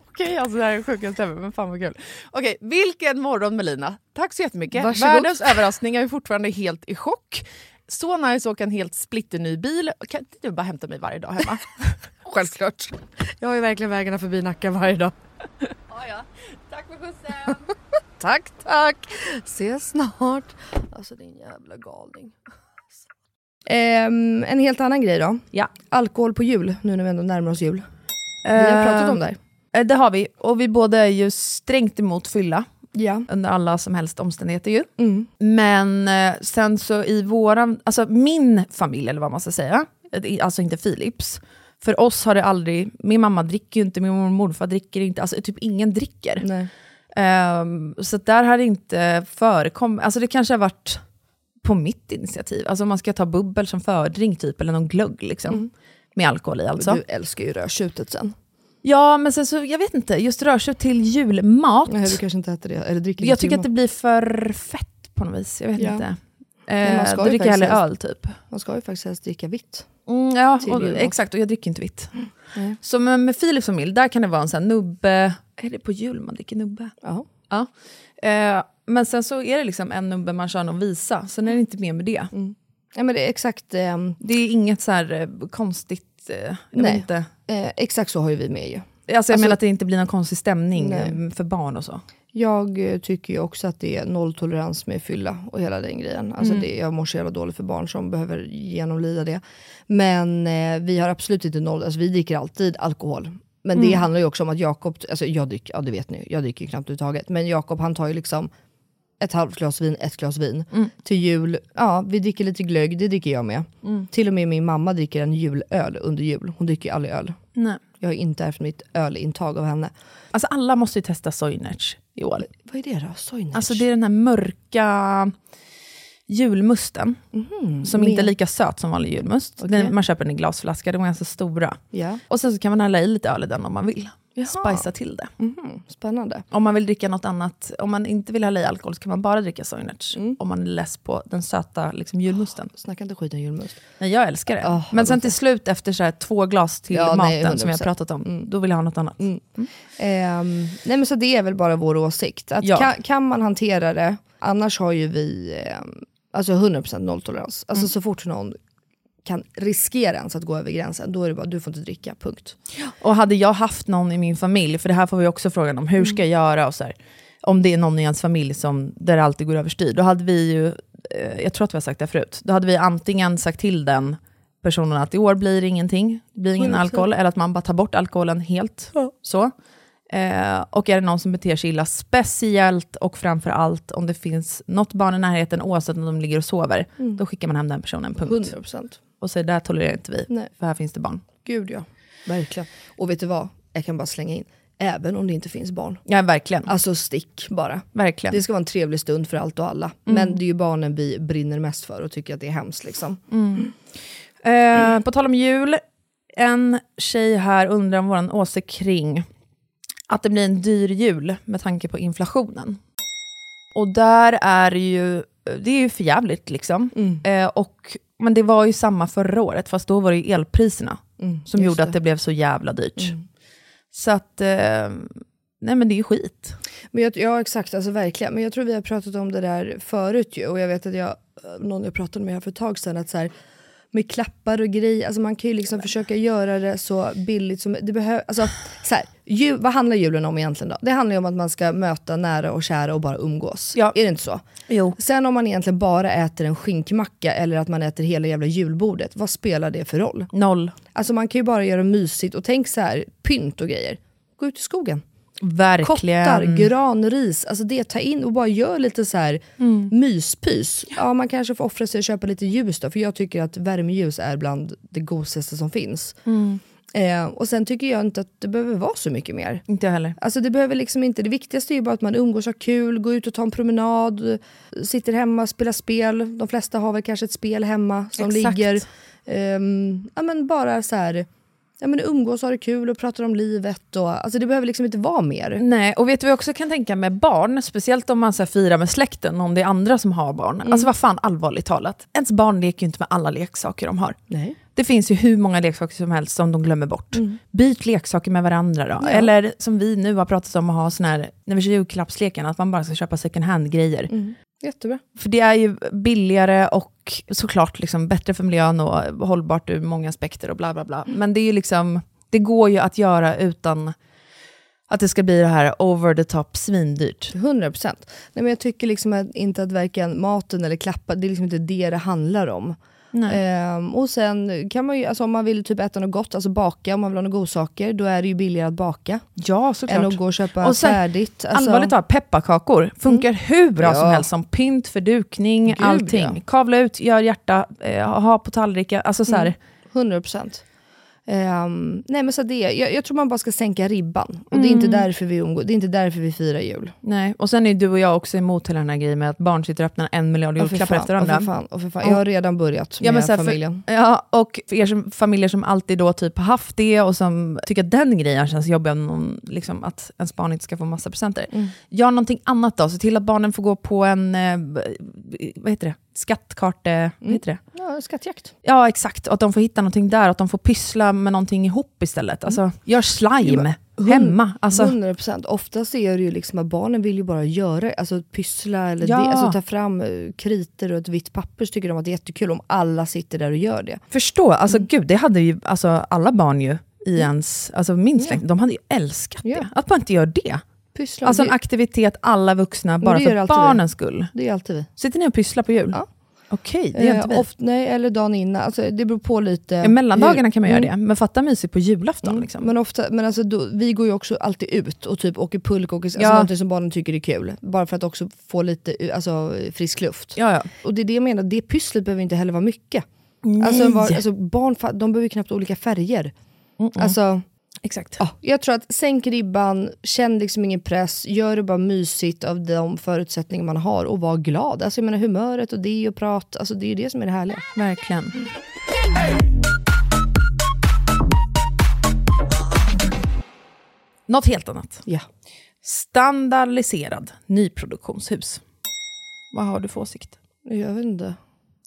Okej, alltså det här är det sjukaste ever, men fan vad kul. Okej, vilken morgon Melina. Tack så jättemycket.
Varsågod.
Världens överraskning, jag är fortfarande helt i chock. Så nice att åka en helt splitterny bil. Kan inte du bara hämta mig varje dag [laughs] hemma?
Självklart. Jag har ju verkligen vägarna förbi Nacka varje
[laughs]
dag.
Tack för skjutsen.
[laughs] Tack, tack! Ses snart. Alltså din jävla galning. Ehm, en helt annan grej då.
Ja.
Alkohol på jul, nu när vi ändå närmar oss jul. Vi har pratat om det här.
Eh, Det har vi. Och vi båda är ju strängt emot fylla
Ja.
under alla som helst omständigheter ju.
Mm.
Men eh, sen så i våran, alltså min familj eller vad man ska säga, eh, alltså inte Philips. För oss har det aldrig, min mamma dricker ju inte, min mormor och morfar dricker inte, alltså typ ingen dricker.
Nej.
Ehm, så att där har det inte förekommit, alltså det kanske har varit på mitt initiativ. Alltså om man ska ta bubbel som fördrink typ, eller någon glögg liksom. Med alkohol i alltså.
Mm. Du älskar ju rödtjutet sen.
Ja, men sen så, jag vet inte, just rödtjut till julmat.
Nej, du kanske inte äter det. Eller dricker
Jag tycker att det blir för fett på något vis. Jag vet
Ja.
inte.
man
Eh,
ska
då
ju
dricker jag hellre
faktiskt
öl typ.
Man ska ju faktiskt helst dricka vitt.
Mm, ja,
till
och,
julmat.
exakt. Och jag dricker inte vitt.
Nej.
Så med, med Philips familj, där kan det vara en sån här nubbe... Är det på jul man dricker nubbe?
Ja.
Ja. Eh, men sen så är det liksom en nubbe man kör någon visa, sen är det inte mer med det.
Mm. Nej, men det är exakt, ehm,
Det är inget så här eh, konstigt... Eh, jag vet
Nej.
Inte.
eh, exakt så har ju vi med ju.
Alltså, jag menar
Alltså-
att det inte blir någon konstig stämning
Nej.
eh, för barn och så.
Jag eh, tycker ju också att det är nolltolerans med fylla och hela den grejen. Alltså
Mm.
det, jag mår så jävla dåligt för barn som behöver genomlida det. Men eh, vi har absolut inte noll, alltså vi dricker alltid alkohol. Men
Mm.
det handlar ju också om att Jakob, alltså jag dricker, ja det vet ni, jag dricker ju knappt överhuvudtaget. Men Jakob han tar ju liksom ett halvt glas vin, ett glas vin.
Mm.
Till jul, ja vi dricker lite glögg, det dricker jag med.
Mm.
Till och med min mamma dricker en julöl under jul, hon dricker ju aldrig öl.
Nej.
Jag har inte ärvt mitt ölintag av henne.
Alltså alla måste ju testa Soinerts i år.
Vad är det då? Soinerts?
Alltså det är den här mörka julmusten. som inte är lika söt som vanlig julmust.
Okej.
Den, man köper den i glasflaska, de är ganska stora.
Ja.
Och sen så kan man hälla i lite öl i den om man vill.
Jaha.
Spicea till det. Mm.
Mhm, spännande.
Om man vill dricka något annat, om man inte vill hälla i alkohol så kan man bara dricka Soinerts.
Mm.
Om man är less på den söta liksom, julmusten.
Snacka inte skit om julmust.
Nej, jag älskar det.
Ah,
Men sen till slut efter så här, två glas till
Ja, nej, Mm.
maten som jag
100%.
pratat om, då vill jag ha något annat.
Ehm, nej men så det är väl bara vår åsikt. Att
Ja.
kan, kan man hantera det, annars har ju vi ehm, alltså 100% nolltolerans. Alltså så fort någon kan riskera ens att gå över gränsen, då är det bara du får inte dricka, punkt.
Och hade jag haft någon i min familj, för det här får vi också frågan om, hur ska jag
Mm.
göra? Och så här, om det är någon i ens familj som, där det alltid går överstyr, då hade vi ju, eh, jag tror att vi har sagt det här förut, då hade vi antingen sagt till den personen att i år blir det ingenting, det blir ingen alkohol, eller att man bara tar bort alkoholen helt. Så. Eh, och är det någon som beter sig illa, speciellt och framför allt om det finns något barn i närheten, oavsett om de ligger och sover,
Mm.
då skickar man hem den personen, punkt.
100%.
Och säger, där tolererar inte vi,
Nej.
för här finns det barn.
Gud ja. Verkligen. Och vet du vad? Jag kan bara slänga in. även om det inte finns barn.
Ja, verkligen.
Alltså stick bara.
Verkligen.
Det ska vara en trevlig stund för allt och alla.
Mm.
Men det är ju barnen vi brinner mest för och tycker att det är hemskt. Liksom.
Mm. Eh, På tal om jul, en tjej här undrar om vår åsikt kring att det blir en dyr jul med tanke på inflationen. Och där är ju, det är ju för jävligt liksom. Eh, och, men det var ju samma förra året, fast då var det ju elpriserna
Mm,
som
just
gjorde att det Mm. blev så jävla dyrt. Så att, eh, nej men det är ju skit.
Men jag, ja, exakt. Alltså verkligen. Men jag tror vi har pratat om det där förut ju. Och jag vet att jag, eh, någon jag pratade med här för ett tag sedan, att så här, med klappar och grejer, alltså man kan ju liksom försöka göra det så billigt som det behövs. Alltså, så här, ju, vad handlar julen om egentligen då? Det handlar ju om att man ska möta nära och kära och bara umgås. Är det inte så?
Jo.
Sen om man egentligen bara äter en skinkmacka eller att man äter hela jävla julbordet, vad spelar det för roll?
Noll.
Alltså man kan ju bara göra mysigt och tänk så här, pynt och grejer. Gå ut i skogen.
Verkligen.
Kottar, granris, alltså det, ta in och bara gör lite så här
Mm.
myspys. Ja, man kanske får offra sig och köpa lite ljus då, för jag tycker att värmeljus är bland det gosigaste som finns.
Mm.
Eh, och sen tycker jag inte att det behöver vara så mycket mer.
Inte jag heller.
Alltså det behöver liksom inte, det viktigaste är ju bara att man umgås, har kul, går ut och tar en promenad, sitter hemma, spelar spel. De flesta har väl kanske ett spel hemma som
Exakt.
ligger. Ehm, ja men bara så här, ja men umgås, har det kul och pratar om livet och, alltså det behöver liksom inte vara mer.
Nej, och vet du vad jag också kan tänka med barn, speciellt om man så här, firar med släkten, om det är andra som har barn. Alltså vad fan, allvarligt talat. Ens barn leker ju inte med alla leksaker de har.
Nej.
Det finns ju hur många leksaker som helst som de glömmer bort. Byt leksaker med varandra då. Eller som vi nu har pratat om att ha sån här, när vi kör julklappsleken, att man bara ska köpa second hand-grejer.
Jättebra.
För det är ju billigare och såklart liksom bättre för miljön och hållbart ur många aspekter och bla bla bla. Men det är ju liksom, det går ju att göra utan att det ska bli det här over the top svindyrt.
100 procent. Nej, men jag tycker liksom att, inte att varken maten eller klappar, det är liksom inte det det handlar om. Ehm, och sen kan man ju, alltså om man vill typ äta något gott, alltså baka, om man vill ha några godsaker, då är det ju billigare att baka.
Ja,
Än att gå och köpa
Och sen-
färdigt. Alltså, Mm.
Allvarligt talat, pepparkakor funkar hur bra som
Ja.
helst som pynt, fördukning,
Gud,
allting.
ja.
Kavla ut, gör hjärta, eh, ha på tallrikar. Alltså så här,
Mm. 100 procent. Ehm, nej men så det, jag, jag tror man bara ska sänka ribban. Och det är inte
Mm.
därför vi umgås, det är inte därför vi firar jul.
nej. Och sen är du och jag också emot hela den här grejen med att barn sitter och öppnar en miljard
Och för
julklappar
fan,
efter
och
varandra.
för fan, och för fan. Jag har redan börjat med
så här,
familjen.
För, ja, och för er som, familjer som alltid då typ har haft det och som tycker att den grejen känns jobbig, om någon, liksom, att ens barn inte ska få massa presenter.
Mm.
Gör någonting annat då, se till att barnen får gå på en, eh, b- vad heter det, skattkarte...
Mm.
Vad heter det?
Ja, skattjakt.
Ja, exakt. Och att de får hitta någonting där, och att de får pyssla med någonting ihop
Mm.
istället. Alltså, gör slime hemma. Alltså,
100 procent. Oftast är det ju liksom att barnen vill ju bara göra, alltså pyssla eller
Ja.
det, alltså ta fram eh, kritor och ett vitt papper så tycker de att det är jättekul om alla sitter där och gör det.
förstå, alltså
Mm.
gud, det hade ju alltså, alla barn ju i ens, alltså min släkt, de hade ju älskat
Ja.
det. Att man inte gör det.
Pyssla, alltså,
Alltså en
det,
aktivitet alla vuxna,
det
bara
gör
för
alltid
barnens skull.
det är alltid vi.
Sitter ni och pysslar på jul?
Ja.
Okej, det gör inte vi.
Eh, oft, nej, eller dagen innan, alltså, det beror på lite.
ja, mellandagarna
hur-
kan man göra
Mm.
det, men fatta mysigt på julafton. Liksom.
Men, ofta, men alltså då, vi går ju också alltid ut och typ åker pulk, åker, alltså
Ja.
någonting som barnen tycker är kul. Bara för att också få lite alltså, frisk luft.
ja, ja.
Och det är det jag menar, det pysslet behöver inte heller vara mycket. Alltså, var, alltså, barn fa- de behöver ju knappt olika färger. Alltså,
Exakt.
ja, jag tror att sänk ribban, känn liksom ingen press, gör det bara mysigt av de förutsättningar man har och var glad. Alltså jag menar humöret och det och prat, alltså det är ju det som är det härliga.
Verkligen. Något helt annat.
Ja.
Standardiserad nyproduktionshus. Vad har du för åsikt?
Jag vet inte.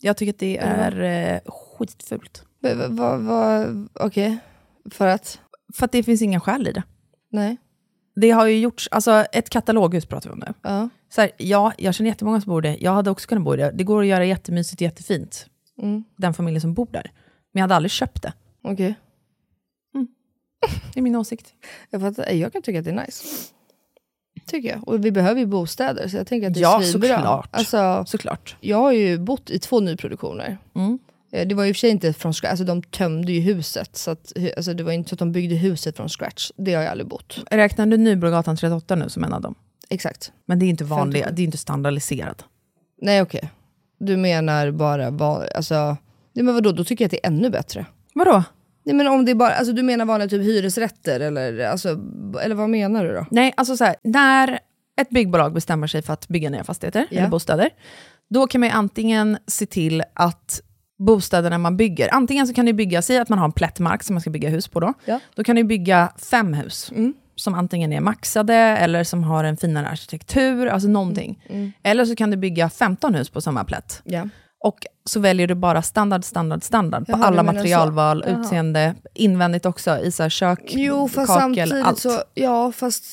Jag tycker att det är eh, skitfult.
V- v- vad- vad- Okej, för att?
För att det finns ingen själ i det.
Nej.
Det har ju gjorts, alltså ett kataloghus pratar vi om nu.
Ja.
Så här, ja, jag känner jättemånga som bor där. Jag hade också kunnat bo där. Det går att göra jättemysigt och jättefint,
Mm.
den familjen som bor där. Men jag hade aldrig köpt det.
Okej.
Mm. Det är min åsikt.
Jag, fattar, jag kan tycka att det är nice. Tycker jag. Och vi behöver ju bostäder, så jag tänker att det är
Ja,
svinbra.
såklart.
Alltså,
Såklart.
jag har ju bott i två nyproduktioner.
Mm.
Eh, Det var ju i och för sig inte från scratch, alltså de tömde ju huset. Så att, hu- alltså det var ju inte så att de byggde huset från scratch. Det har jag aldrig bott.
Räknar du Nybrogatan 38 nu som en av dem?
Exakt.
Men det är inte vanliga,
57.
det är inte standardiserad.
Nej okej. Du menar bara, va, alltså, nej men vadå, då tycker jag att det är ännu bättre.
Vadå?
Nej men om det är bara, alltså du menar vanliga typ hyresrätter eller, alltså, eller vad menar du då?
Nej, alltså så här, när ett byggbolag bestämmer sig för att bygga nya fastigheter
Ja.
eller bostäder, då kan man ju antingen se till att bostäderna man bygger, antingen så kan det byggas i att man har en plättmark som man ska bygga hus på då.
Ja. Mm.
Då kan du bygga fem hus, som antingen är maxade eller som har en finare arkitektur, alltså någonting. Eller så kan du bygga 15 hus på samma plätt.
Mm, Ja.
Och så väljer du bara standard, standard, standard
Jaha,
på
du
alla
menar så.
materialval,
Jaha.
utseende, invändigt också, i så här kök,
Jo fast
kakel,
samtidigt
allt.
så, ja fast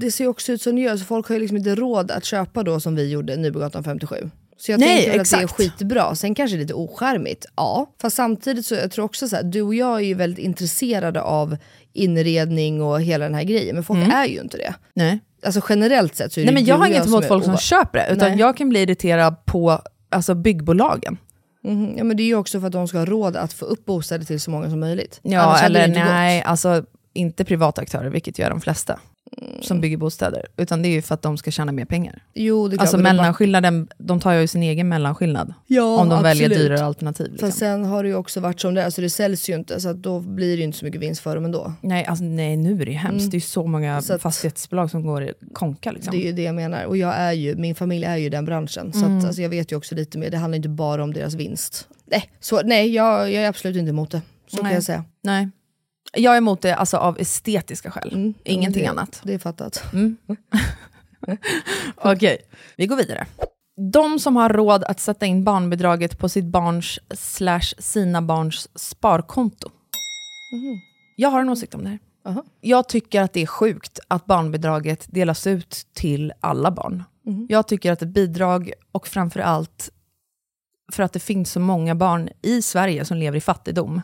det ser ju också ut som det gör, så folk har ju liksom inte råd att köpa då som vi gjorde Nybogatan 57. Så jag
Nej,
tänker väl att det är
exakt.
skitbra, sen kanske det är lite oskärmigt, ja. Fast samtidigt så jag tror också så här, du och jag är ju väldigt intresserade av inredning och hela den här grejen, men folk är ju inte det.
Nej.
Alltså generellt sett så är det
Mm. Nej, men
ju
jag
du
har
och
inget emot
är
folk som
ova-
köper det, utan
Nej.
jag kan bli irriterad på alltså, byggbolagen.
Mhm, Ja, men det är ju också för att de ska ha råd att få upp bostäder till så många som möjligt.
Ja,
Annars hade det
eller
inte gått.
nej, alltså inte privata aktörer, vilket gör de flesta som bygger bostäder, utan det är ju för att de ska tjäna mer pengar.
Jo, det är klart,
Alltså
men de bara-
mellanskillnaden, de tar ju sin egen mellanskillnad.
Ja,
om de väljer
absolut.
dyrare alternativ. Liksom.
Fast sen har det ju också varit som det är, så det säljs ju inte, så att då blir det ju inte så mycket vinst för dem ändå.
Nej, alltså, nej, nu är det ju hemskt. Det är ju Mm. så många
Så att-
fastighetsbolag som går i konka. Liksom.
Det är ju det jag menar. Och jag är ju, min familj är ju i den branschen, så
Mm.
att, alltså, jag vet ju också lite mer. Det handlar inte bara om deras vinst. Nej, så, nej jag, jag är absolut inte emot det. Så kan
Nej.
jag säga.
Nej. Jag är emot det alltså, av estetiska skäl, ingenting
det,
annat.
Det är fattat.
Mm. Okej, vi går vidare. De som har råd att sätta in barnbidraget på sitt barns slash sina barns sparkonto. Jag har en åsikt om det här.
Aha.
Jag tycker att det är sjukt att barnbidraget delas ut till alla barn. Jag tycker att ett bidrag, och framförallt för att det finns så många barn i Sverige som lever i fattigdom,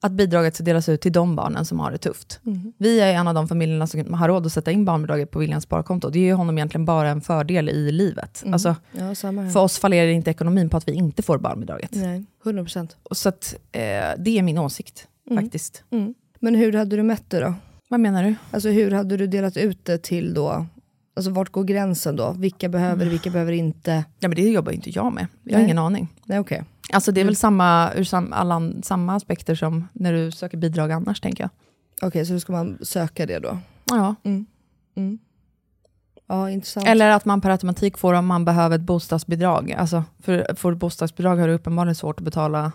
att bidraget ska delas ut till de barnen som har det tufft. Vi är en av de familjerna som har råd att sätta in barnbidraget på Williams sparkonto. Det ger honom egentligen bara en fördel i livet. Alltså,
Ja, samma här.
för oss fallerar inte ekonomin på att vi inte får barnbidraget.
Nej, 100%.
Och Så att, eh, det är min åsikt, faktiskt.
Men hur hade du mätt det då?
Vad menar du?
Alltså hur hade du delat ut det till då? Alltså vart går gränsen då? Vilka behöver det, vilka behöver inte?
Ja, men det jobbar ju inte jag med. Jag har
Nej.
ingen aning.
Nej okej.
Alltså det är väl samma, ur sam, alla, an- samma aspekter som när du söker bidrag annars, tänker jag.
Okej, så då ska man söka det då? Mm.
Ja.
Ja, intressant.
Mm. Eller att man per automatik får om man behöver ett bostadsbidrag. Alltså, för, får du bostadsbidrag har du uppenbarligen svårt att betala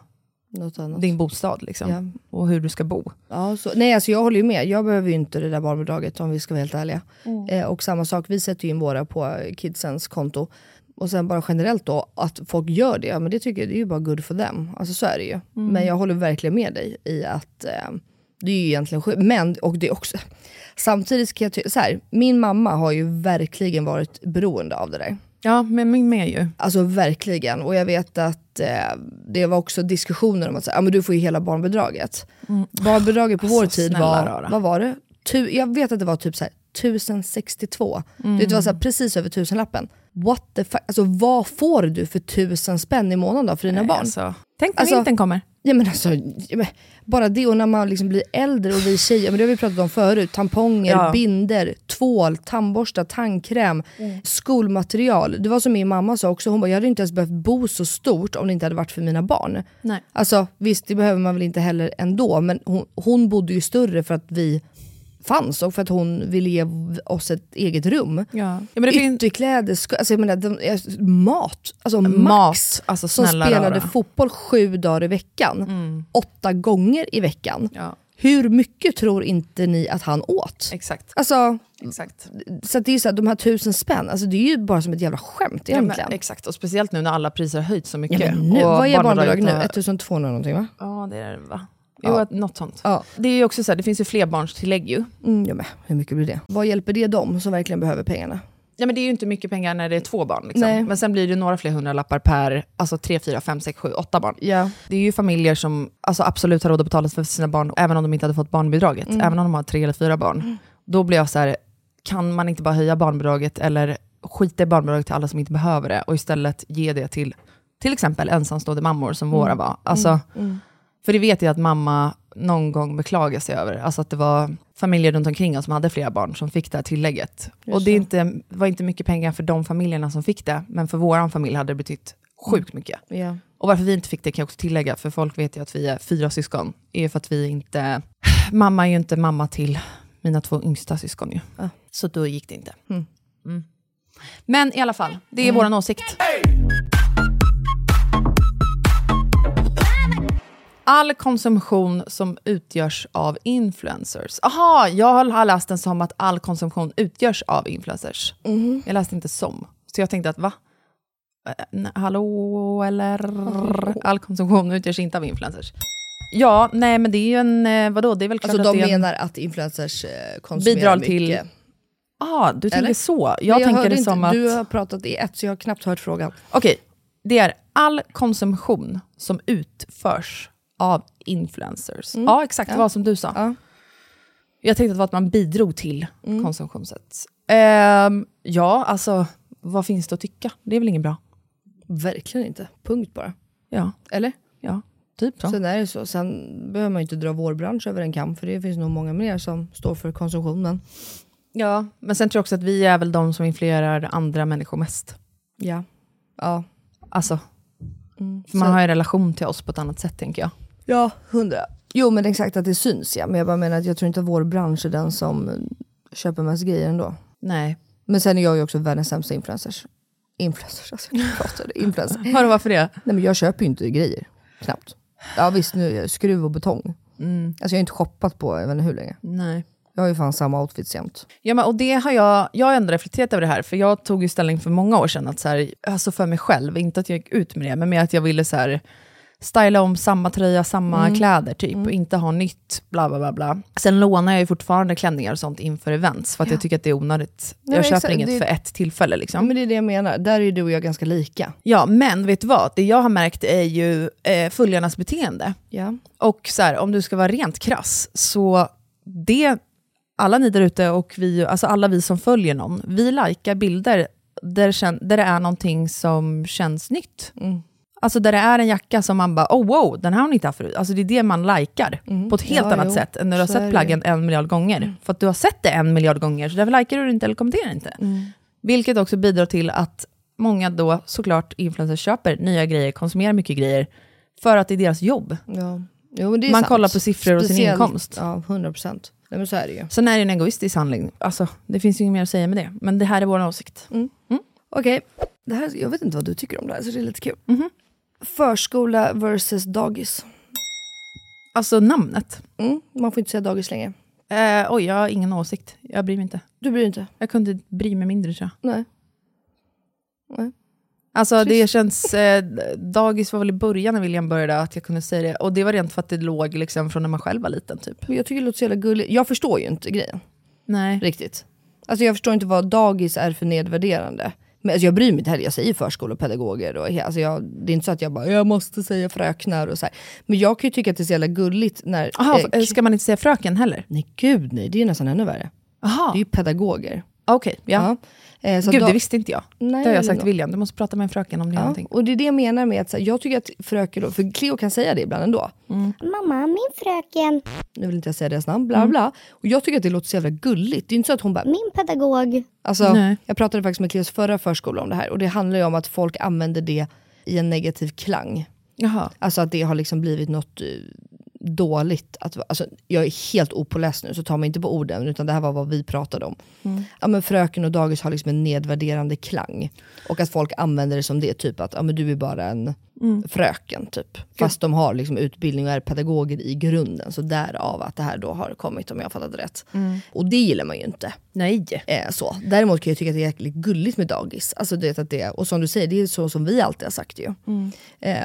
Något annat.
din bostad liksom,
Ja.
och hur du ska bo.
Ja, så, nej, alltså jag håller ju med. Jag behöver ju inte det där barnbidraget om vi ska vara helt ärliga. Eh, och samma sak, vi sätter ju in våra på eh, kidsens konto. Och sen bara generellt då, att folk gör det, ja, men det tycker jag det är ju bara good for them. Alltså så är det ju. Men jag håller verkligen med dig i att eh, det är ju egentligen sjukt. Men, och det är också, samtidigt kan jag ty- så här, min mamma har ju verkligen varit beroende av det där.
Ja, men min med ju.
Alltså verkligen. Och jag vet att eh, det var också diskussioner om att säga, ah, men du får ju hela barnbidraget. Barnbidraget på vår
Alltså,
tid
Mm. snälla
var,
rara.
vad var det? Tu, jag vet att det var typ så här, 1062.
Mm.
Du vet, det var så här, precis över tusenlappen. What the fuck? Alltså vad får du för tusen spänn i månaden då för dina barn?
Alltså, tänk när
Alltså-
vintern kommer.
Ja, men alltså, ja, men bara det och när man liksom blir äldre och vi tjejer, men det har vi pratat om förut, tamponger,
Ja.
binder, tvål, tandborstar, tandkräm,
Mm.
skolmaterial. Det var som min mamma sa också, hon bara, jag hade inte ens behövt bo så stort om det inte hade varit för mina barn.
Nej.
Alltså visst, det behöver man väl inte heller ändå, men hon, hon bodde ju större för att vi fanns och för att hon ville ge oss ett eget rum.
Ja. Ja, men det finns-
Ytterkläder, sko- alltså jag menar, de, eh, mat, alltså Max,
Mat, alltså
som
snälla
spelade
rara. Mm.
fotboll sju dagar i veckan, åtta gånger i veckan.
Ja.
Hur mycket tror inte ni att han åt?
Exakt.
Alltså,
Exakt.
så att det är ju så här, de här tusen spänn, alltså det är ju bara som ett jävla skämt
Ja, men,
egentligen.
exakt, och speciellt nu när alla priser har höjts så
Ja,
mycket.
men nu,
och
vad är barnbidrag
barnbidraget
nu?
har-
1200 någonting va?
Ja, det är det va? Jo,
Ja.
att- något sånt.
Ja.
Det är ju också så här, det finns ju flerbarnstillägg ju.
Mm, ja, men, hur mycket blir det? Vad hjälper det dem som verkligen behöver pengarna?
Ja, men det är ju inte mycket pengar när det är två barn.
Nej.
Liksom. Men sen blir det några fler hundralappar per, alltså tre, fyra, fem, sex, sju, åtta barn.
Ja.
Det är ju familjer som alltså, absolut har råd att betala för sina barn, även om de inte hade fått barnbidraget. Även om de har tre eller fyra barn. Då blir jag så här, kan man inte bara höja barnbidraget eller skita i barnbidraget till alla som inte behöver det och istället ge det till till exempel ensamstående mammor som våra var. Alltså, För det vet jag att mamma någon gång beklagade sig över. Alltså att det var familjer runt omkring oss som hade flera barn som fick det här tillägget. och det är inte, var inte mycket pengar för de familjerna som fick det, men för vår familj hade det betytt sjukt mycket. Och varför vi inte fick det kan jag också tillägga, för folk vet ju att vi är fyra syskon. är ju för att vi inte... [sighs] Mamma är ju inte mamma till mina två yngsta syskon ju. Så då gick det inte. Mm. Men i alla fall, det är våran åsikt. All konsumtion som utgörs av influencers. Aha, jag har läst den som att all konsumtion utgörs av influencers.
Mhm.
Jag läste inte som. Så jag tänkte att va? Eh, nej, Hallå eller? All konsumtion utgörs inte av influencers. Ja, nej men det är ju en, eh, vadå, det är väl klart
Alltså
att
de
det är en...
menar att influencers eh, konsumerar
Bidrar
mycket.
till- ah, du tänker
Eller?
så.
Men
Jag, tänker
hörde
det
inte,
som att...
Du har pratat i ett, så jag har knappt hört frågan.
Okej, det är all konsumtion som utförs av influencers.
Mm.
Ja, exakt. Det var som du sa. Jag tänkte att det var att man bidrog till konsumtionssätt. Ehm, ja, alltså vad finns det att tycka? Det är väl inget bra?
Verkligen inte. Punkt bara.
Ja,
Eller?
ja typ så.
Sen är det så. Sen behöver man ju inte dra vår bransch över en kam, för det finns nog många mer som står för konsumtionen.
Ja, men sen tror jag också att vi är väl de som influerar andra människor mest.
Ja. Ja. Mm,
Alltså, för man har ju relation till oss på ett annat sätt tänker jag.
Ja, hundra. Jo men exakt att det syns ja, men jag bara menar att jag tror inte att vår bransch är den som eh, köper mest grejer ändå.
Nej.
Men sen är jag ju också världens sämsta influencers. Influencers, alltså jag
[laughs]
pratade influencer.
Vadå, varför det?
Nej men jag köper ju inte grejer, knappt. Ja visst, nu är jag skruv och betong. Alltså jag har inte shoppat på jag vet inte hur länge.
Nej.
Jag har ju fan samma outfits jämt.
Ja, men, och det har jag, jag har ändå reflekterat över det här, för jag tog ju ställning för många år sedan, att så här, alltså för mig själv, inte att jag gick ut med det, men mer att jag ville så här, styla om samma tröja, samma
Mm.
kläder typ, och inte ha nytt, bla bla bla. bla. Sen lånar jag ju fortfarande klänningar och sånt inför events, för att jag tycker att det är onödigt.
Nej,
jag
men
köper
exakt,
inget
det- Mm.
för ett tillfälle
Ja
liksom.
men det är det jag menar, där är ju du och jag ganska lika.
Ja, men vet du vad? Det jag har märkt är ju eh, följarnas beteende.
Ja.
Och så här, om du ska vara rent krass, så det, alla ni där ute och vi, alltså alla vi som följer någon, vi likar bilder där, det kän- där det är någonting som känns nytt.
Mm.
Alltså där det är en jacka som man bara, oh wow, den här har ni inte haft förut. Alltså det är det man likar på ett helt
Mm. Ja,
annat
jo,
sätt än när du har
så är
sett
det Mm.
plaggen en miljard gånger. För att du har sett det en miljard gånger, så därför likar du det inte eller kommenterar inte.
Mm.
Vilket också bidrar till att många då såklart influencers köper nya grejer, konsumerar mycket grejer, för att det är deras jobb.
ja. Jo, men det är
Man
sant.
kollar på siffror och sin inkomst.
Ja, 100%. Nej men så är det ju.
Sen är det en egoistisk handling. Alltså, det finns ju inget mer att säga med det. Men det här är vår åsikt.
Okej, det här, jag vet inte vad du tycker om det här så det är lite kul. Förskola versus dagis.
Alltså namnet.
Mm, man får inte säga dagis längre.
Eh, oj, jag har ingen åsikt. Jag bryr mig inte.
Du bryr dig inte?
Jag kunde bry mig mindre tror jag.
Nej.
Alltså det känns... Eh, dagis var väl i början när William började att jag kunde säga det. Och det var rent för att det låg liksom från när man själv var liten typ.
Men jag tycker det låter så jävla gulligt. Jag förstår ju inte grejen
Nej.
riktigt. Alltså jag förstår inte vad dagis är för nedvärderande. Men alltså jag bryr mig inte heller, jag säger förskolepedagoger och he- alltså jag, det är inte så att jag bara jag måste säga fröknar och så här. Men jag kan ju tycka att det är så jävla gulligt när...
Aha,
eh,
eh, ska man inte säga fröken heller?
Nej gud nej, det är ju nästan ännu värre. Det är
Jaha,
ju pedagoger.
okej. ja.
Eh, så
Gud,
da-
det visste inte jag.
Nej,
det har jag
eller
sagt
nå-
till William. Du måste prata med en fröken om det är
Ja,
någonting.
och det är det jag menar med att så här, jag tycker att fröken, för Cleo kan säga det ibland ändå.
Mamma, min fröken,
Nu vill inte jag säga deras namn,
Mm.
bla bla. Och jag tycker att det låter så jävla gulligt. Det är inte så att hon bara,
min pedagog.
alltså,
Nej.
jag pratade faktiskt med Cleos förra förskola om det här och det handlar ju om att folk använder det i en negativ klang.
Jaha.
Alltså att det har liksom blivit något eh, dåligt. Att, alltså, jag är helt opåläst nu, så ta mig inte på orden, utan det här var vad vi pratade om.
Mm.
Ja, men fröken och dagis har liksom en nedvärderande klang. Och att folk använder det som det, typ att ja, men du är bara en
Mm.
fröken. typ. Fast de har liksom utbildning och är pedagoger i grunden, så därav att det här då har kommit, om jag har fattat rätt. Och det gillar man ju inte.
Mm. Nej.
Eh, så. Däremot kan jag tycka att det är jäkligt gulligt med dagis. Alltså, du vet att det, och som du säger, det är så som vi alltid har sagt ju. Eh,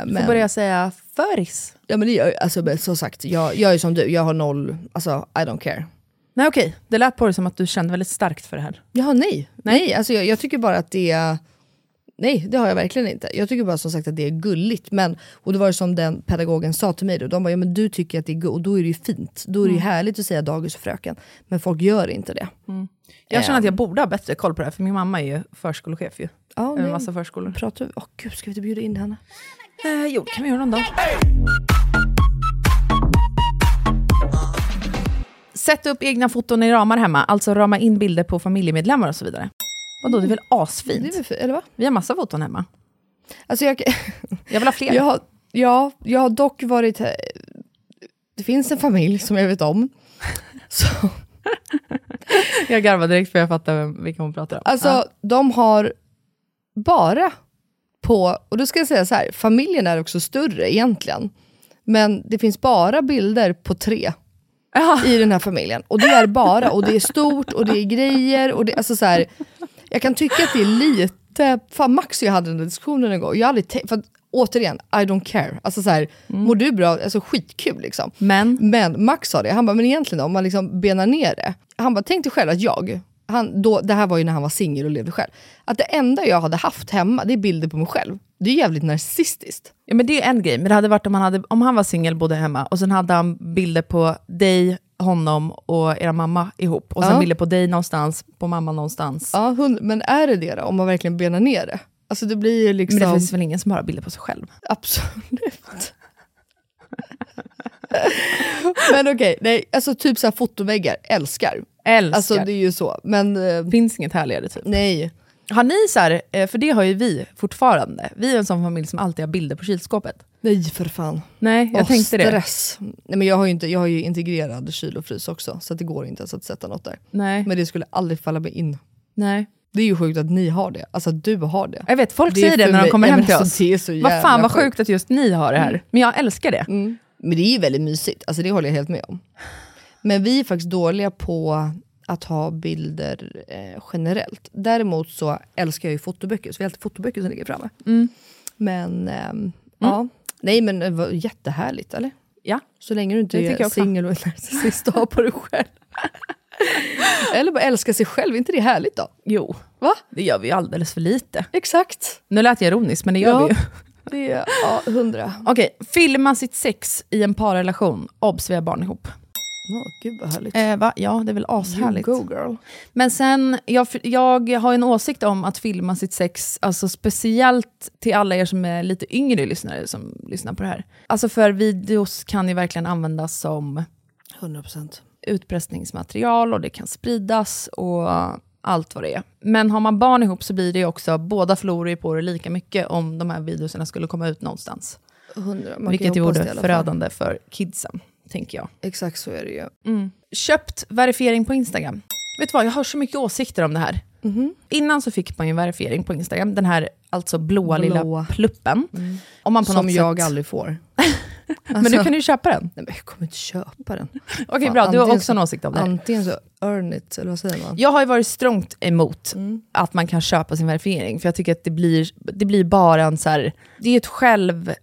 Mm. Får börja säga föris.
Ja men det gör jag. alltså, men som sagt, jag, jag är som du, jag har noll, alltså I don't care.
Nej okej, det lät på dig som att du kände väldigt starkt för det här.
Ja nej, nej, alltså jag, jag tycker bara att det är, nej det har jag verkligen inte. Jag tycker bara som sagt att det är gulligt, men, och det var det som den pedagogen sa till mig då, de bara, ja men du tycker att det är gulligt, och då är det ju fint, då är
Mm.
det ju härligt att säga dagis och fröken, men folk gör inte det.
Jag känner att jag borde ha bättre koll på det här, för min mamma är ju förskolechef ju.
Ja,
Över
nej.
en massa förskolor.
Pratar vi, åh gud ska vi inte bjuda in henne?
Eh, jo, kan vi göra någon dag. Sätt upp egna foton i ramar hemma, alltså rama in
Mm.
bilder på familjemedlemmar och så vidare. Vadå, det är väl
Det är
asfint?
väl, fi- eller va?
Vi har massa foton hemma.
Alltså jag,
jag vill ha fler.
Jag har, ja, jag har dock varit... Det finns en familj som jag vet
[laughs]
om. Så,
Jag garvar direkt för jag fattar vem, vilka hon pratar om.
alltså,
Ja.
de har bara på... Och då ska jag säga så här, familjen är också större egentligen. Men det finns bara bilder på tre i den här familjen. Och det är bara, och det är stort och det är grejer. Och det, alltså så här, jag kan tycka att det är lite... Fan, Max och jag hade den här diskussionen en gång. Jag hade tänkt, för att, återigen, I don't care. Alltså så här, mår du bra? Alltså skitkul liksom.
Mm. Men?
Men Max sa det, han bara, men egentligen då, om man liksom benar ner det. Han bara, tänk dig själv att jag, han, då, det här var ju när han var singel och levde själv. Att det enda jag hade haft hemma, det är bilder på mig själv. Det är jävligt narcissistiskt.
Ja, men det är en grej, men det hade varit om han, hade, om han var singel bodde hemma och sen hade han bilder på dig, honom och era mamma ihop. Och sen
Ja.
bilder på dig någonstans, på mamma någonstans.
Ja, hund, men är det det då, om man verkligen benar ner det? Alltså det blir ju liksom...
Men det finns väl ingen som bara har bilder på sig själv?
Absolut. men okej, nej, alltså typ så här fotoväggar, älskar.
Älskar.
Alltså det är ju så, men... eh,
finns inget härligare typ.
Nej.
Har ni så här, eh, för det har ju vi fortfarande, vi är en sån familj som alltid har bilder på kylskåpet.
Nej för fan.
Nej, jag
Åh,
tänkte det.
stress. Nej, men jag, har ju inte, jag har ju integrerad kyl och frys också, så att det går inte ens att sätta något där.
Nej.
Men det skulle aldrig falla mig in.
Nej.
Det är ju sjukt att ni har det, alltså att du har det.
Jag vet, folk
Det är
säger det
för
när de
mig-
kommer
ja,
hem
men
till
alltså,
oss.
det är så
vad fan
jävla
vad
sjukt.
sjukt att just ni har det här. Men jag älskar det.
Men det är ju väldigt mysigt, alltså det håller jag helt med om. Men vi är faktiskt dåliga på att ha bilder eh, generellt. Däremot så älskar jag ju fotoböcker, så vi har alltid fotoböcker som ligger framme.
Mm.
Men ehm, ja, nej men det var jättehärligt eller?
Ja.
Så länge du inte
Det tycker
är
jag också.
singel och är narcissist och har på dig själv. eller bara älska sig själv, är inte det härligt då?
Jo,
Va?
det gör vi ju alldeles för lite.
Exakt.
Nu lät jag ironisk, men det gör
Ja.
vi ju.
Det är [laughs] ja, hundra.
[laughs] Okej, filma sitt sex i en parrelation. Obs, vi har barn ihop.
Åh, gud vad härligt.
Eh, va? Ja, det är väl
you
ashärligt.
go girl.
Men sen, jag, jag har en åsikt om att filma sitt sex, alltså speciellt till alla er som är lite yngre lyssnare som lyssnar på det här. Alltså för videos kan ju verkligen användas som
100 procent.
utpressningsmaterial och det kan spridas och allt vad det är. Men har man barn ihop så blir det ju också, båda förlorar ju på det lika mycket om de här videorna skulle komma ut någonstans.
100. Man
vilket
kan ju hoppas
vore
det i alla fall.
förödande för kidsen, tänker jag.
Exakt så är det ju.
Köpt verifiering på Instagram. Vet du vad, jag har så mycket åsikter om det här.
Mhm.
Innan så fick man ju en verifiering på Instagram, den här alltså blåa lilla
Blåa.
pluppen. Om man på
Mm. Som
något
jag
sätt...
aldrig
[laughs]
får. Alltså-
Men nu kan du
[laughs]
ju köpa den.
Nej, men jag kommer inte köpa [laughs] den.
Okej bra, du har
antingen
också en
så-
åsikt om det här.
Antingen så earn it, eller vad säger man? Mm.
Jag har ju varit strångt emot att man kan köpa sin verifiering, för jag tycker att det blir, det blir bara en så här, det är ett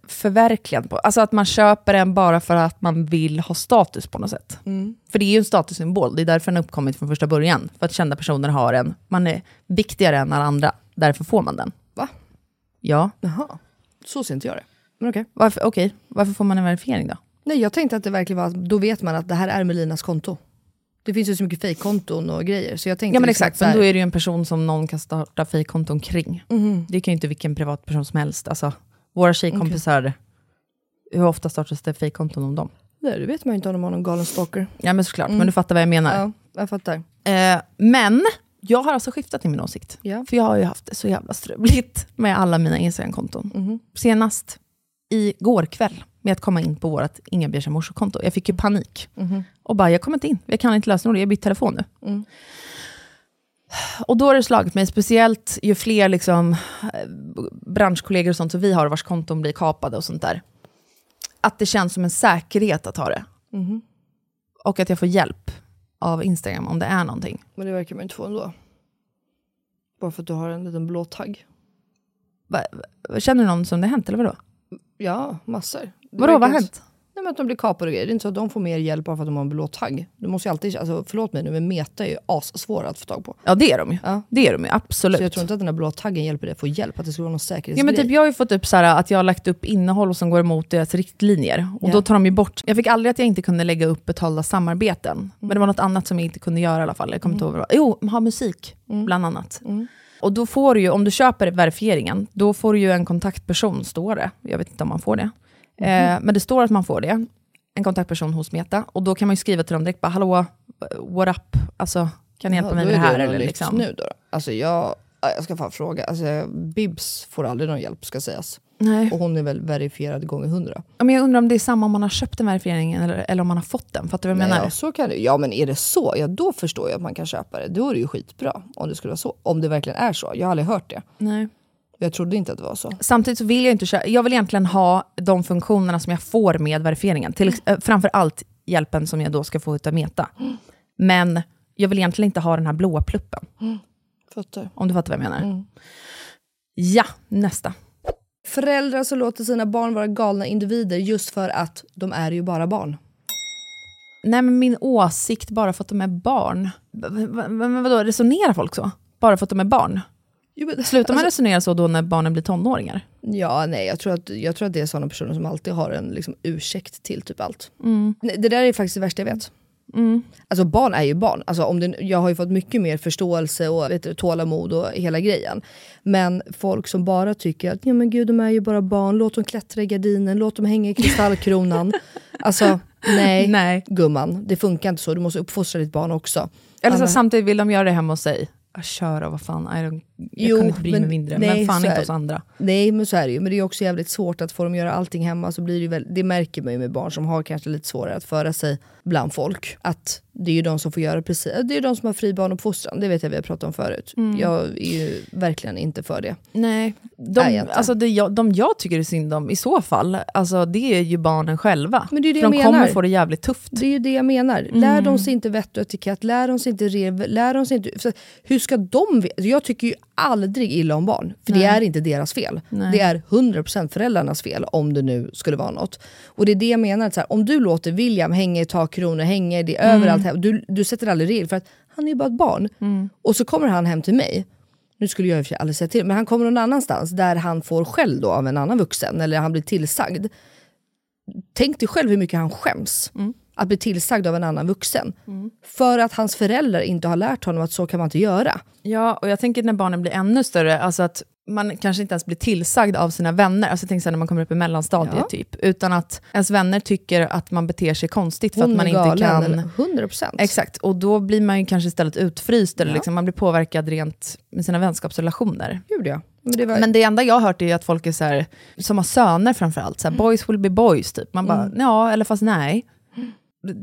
självförverkligande. På, alltså att man köper den bara för att man vill ha status på något sätt.
Mm.
För det är ju en statussymbol, det är därför den har uppkommit från första början. För att kända personer har den, man är viktigare än alla andra, därför får man den.
Va?
Ja,
Jaha, så ser inte jag det. Men okej.
varför, okej, varför får man en verifiering då?
Nej, jag tänkte att det verkligen var, då vet man att det här är Melinas konto. Det finns ju så mycket fejkkonton och grejer. Så jag tänkte
Ja men
liksom
exakt,
att så här-
men då är det ju en person som någon kan starta fejkkonton kring. Det kan ju inte vilken privatperson som helst. Alltså, våra tjejkompisar, hur ofta startas det fejkkonton om dem?
Nej, det vet man ju inte om de har någon galen stalker.
Ja men såklart, men du fattar vad jag menar.
Mm. Ja, jag fattar.
Eh, men jag har alltså skiftat i min åsikt.
Ja.
För jag har ju haft det så jävla struligt med alla mina Instagram-konton.
Mhm.
Senast igår kväll med att komma in på vårt Inga Beirs konto. Jag fick ju panik. Och bara, jag kommer inte in. Jag kan inte lösenordet. Jag byter telefon nu.
Mm.
Och då har det slagit mig, speciellt ju fler liksom, eh, branschkollegor och sånt som vi har, vars konton blir kapade och sånt där. Att det känns som en säkerhet att ha det.
Mhm.
Och att jag får hjälp av Instagram om det är någonting.
Men det verkar man inte få ändå. Bara för att du har en liten blå tagg.
Va- va- Känner du någon som det har hänt eller vadå?
Ja, massor. Det
Vadå, vad
verkar
har
inte-
hänt?
Nej, men att de blir kapade och grejer. Det är inte så att de får mer hjälp bara för att de har en blå tagg. Du måste ju alltid, alltså, förlåt mig nu, men meta är ju assvåra att få tag på.
Ja det är de ju.
Ja.
Det är de ju, absolut.
Så jag tror inte att den här blå taggen hjälper dig att få hjälp, att det skulle vara någon säkerhetsgrej.
Ja, men typ, jag har ju fått upp så här, att jag har lagt upp innehåll som går emot deras riktlinjer. Och
Ja.
då tar de ju bort... Jag fick aldrig att jag inte kunde lägga upp betalda samarbeten. Men det var något annat som jag inte kunde göra i alla fall. Jag kommer inte ihåg vad det var. Jo, ha musik, bland annat. Och då får du ju, om du köper verifieringen, då får du ju en kontaktperson, står det. Jag vet inte om man får det. Eh, men det står att man får det. En kontaktperson hos Meta. Och då kan man ju skriva till dem direkt, bara hallå, what up? Alltså, kan ni hjälpa mig med det här? Eller liksom.
nu då? Alltså jag, ja, jag ska fan fråga. Alltså, Bibs får aldrig någon hjälp ska sägas.
Nej.
Och hon är väl verifierad gånger hundra.
Ja, men jag undrar om det är samma om man har köpt den verifieringen eller, eller om man har fått den. Fattar du vad jag
Nej,
menar?
ja, så kan det. Ja men är det så, ja då förstår jag att man kan köpa det. Då är det ju skitbra om det skulle vara så. Om det verkligen är så. Jag har aldrig hört det.
Nej.
Jag trodde inte att det var så.
Samtidigt så vill jag inte köra, jag vill egentligen ha de funktionerna som jag får med verifieringen. Till,
Mm.
eh, framför allt hjälpen som jag då ska få utav Meta. Men jag vill egentligen inte ha den här blåa pluppen.
Fattar.
Om du fattar vad jag menar. Ja, nästa.
Föräldrar som låter sina barn vara galna individer just för att de är ju bara barn.
Nej, men min åsikt bara för att de är barn. V- v- Men vadå, resonerar folk så? Bara för att de är barn?
Jo, men,
Alltså,
Slutar man resonera så då när barnen blir tonåringar?
Ja, nej, jag tror, att, jag tror att det är sådana personer som alltid har en liksom, ursäkt till typ allt. Nej, Det där är faktiskt det värsta jag vet. Alltså barn är ju barn. Alltså, om det, jag har ju fått mycket mer förståelse och vet du, tålamod och hela grejen. Men folk som bara tycker att ja, men gud, de är ju bara barn, låt dem klättra i gardinen, låt dem hänga i kristallkronan. alltså nej,
Nej.
gumman, det funkar inte så. Du måste uppfostra ditt barn också.
Eller så
Annars-
samtidigt vill de göra det hemma hos sig. Ah, Kör då, vad fan, I don't, jag
Jo,
kunde inte bry mig
men-
mindre.
nej,
men fan
så
inte
är-
hos andra.
Nej men så är det ju, men det är också jävligt svårt att få dem att göra allting hemma. Så blir det, ju väl, det märker man ju med barn som har kanske lite svårare att föra sig bland folk. Att det är ju de som får göra precis, det är de som har fri barnuppfostran, det vet jag vi har pratat om förut. Jag är ju verkligen inte för det.
Nej, de,
Nej, inte.
alltså det jag, de jag tycker är synd om i så fall, alltså det är ju barnen själva.
Men det är ju det
För de
jag
kommer
menar.
få det jävligt tufft.
Det är ju det jag menar. Lär de sig inte vett och etikett, lär de sig inte rev, lär de sig inte... För hur ska de veta? Jag tycker ju aldrig illa om barn, för det är inte deras fel. Det är 100% föräldrarnas fel, om det nu skulle vara något. Och det är det jag menar, att så här, om du låter William hänga i takkronor, hänga i det överallt, här, du, du sätter aldrig regler för att han är ju bara ett barn. Och så kommer han hem till mig, nu skulle jag i och för sig aldrig säga till, men han kommer någon annanstans där han får skäll då av en annan vuxen, eller han blir tillsagd. Tänk dig själv hur mycket han skäms
Mm.
att bli tillsagd av en annan vuxen. För att hans föräldrar inte har lärt honom att så kan man inte göra.
Ja, och jag tänker när barnen blir ännu större, alltså att man kanske inte ens blir tillsagd av sina vänner, alltså jag tänker så här när man kommer upp i mellanstadiet
Ja.
typ, utan att ens vänner tycker att man beter sig konstigt för att man
är
inte
galen,
kan...
eller- 100%.
Exakt, och då blir man ju kanske istället utfryst, eller
Ja.
liksom, man blir påverkad rent med sina vänskapsrelationer.
Gud ja. Men det var,
Men det enda jag har hört är att folk är så här, som har söner framförallt,
Mm.
så här, boys will be boys, typ. Man bara, ja, eller fast nej.
Mm.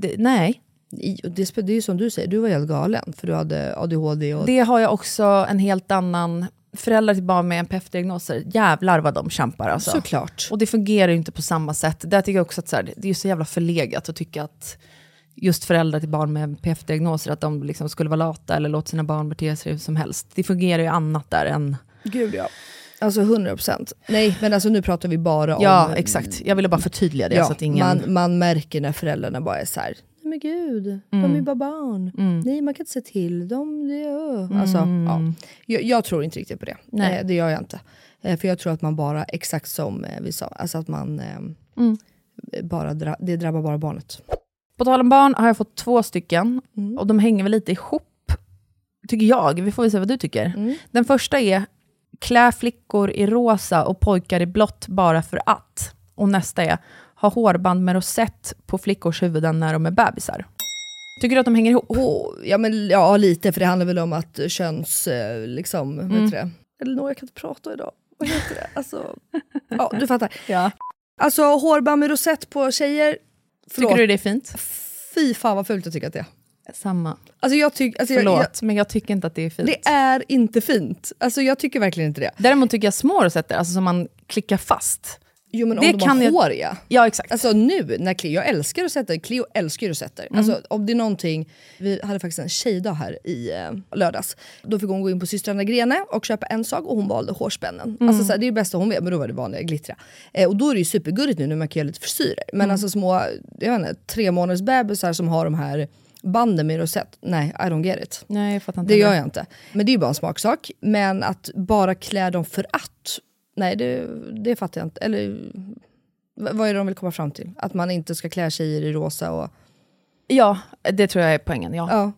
Det, nej.
i- och det, sp- det är ju som du säger, du var helt galen för du hade ADHD och
Det har jag också en helt annan, föräldrar till barn med NPF-diagnoser, jävlar vad de kämpar alltså.
såklart.
Och det fungerar ju inte på samma sätt. Där tycker jag också att så här, det är ju så jävla förlegat att tycka att just föräldrar till barn med NPF-diagnoser, att de liksom skulle vara lata eller låta sina barn bete sig hur som helst. Det fungerar ju annat där än...
Gud ja. Alltså 100%. Nej men alltså nu pratar vi bara om...
Ja, exakt. Jag ville bara förtydliga det.
Ja,
så att ingen...
man, man märker när föräldrarna bara är så här, nej men gud, de är
Mm.
bara barn. Nej man kan inte säga till dem. Det, är- alltså, ja. jag, jag tror inte riktigt på det.
Mm. Nej.
Eh, det gör jag inte. Eh, för jag tror att man bara, exakt som eh, vi sa, alltså att man eh,
Mm.
bara dra, det drabbar bara barnet.
På tal om barn har jag fått två stycken och de hänger väl lite ihop, tycker jag. Vi får väl se vad du tycker. Den första är klä flickor i rosa och pojkar i blått bara för att. Och nästa är ha hårband med rosett på flickors huvuden när de är bebisar. Tycker du att de hänger ihop?
Och, ja, men, ja lite, för det handlar väl om att eh, köns... Eh, liksom, vad
Mm.
heter det? Eller jag kan inte prata idag. Vad heter det? Alltså, ja, du fattar.
[laughs] Ja.
Alltså hårband med rosett på tjejer, förlåt.
Tycker du det är fint?
Fy fan vad fult jag tycker att det är.
Samma.
Alltså jag tycker, alltså jag,
Förlåt,
jag,
men jag tycker inte att det är fint.
det är inte fint. Alltså jag tycker verkligen inte det.
Däremot tycker jag små rosetter, alltså som man klickar fast.
Jo men
Det
om de
kan
har
jag-
hår ja.
Ja, exakt.
Alltså nu, när Cleo, jag älskar rosetter, Cleo älskar ju rosetter.
Mm.
Alltså om det är någonting, vi hade faktiskt en tjejdag här i eh, lördags. Då fick hon gå in på systrarna Grene och köpa en sak och hon valde hårspännen.
Mm.
Alltså så här, det är det bästa hon vet, men då var det vanliga glittra. Eh, och då är det ju supergulligt nu när man kan göra lite frisyrer. Men
Mm.
alltså små, jag vet inte, tre månaders bebisar som har de här banden med rosett, nej I don't get it.
Nej, jag fattar inte.
Det gör jag inte. Men det är ju bara en smaksak. Men att bara klä dem för att, nej det, det fattar jag inte. Eller v- vad är det de vill komma fram till? Att man inte ska klä tjejer i rosa och...
Ja, det tror jag är poängen. Ja.
Ja.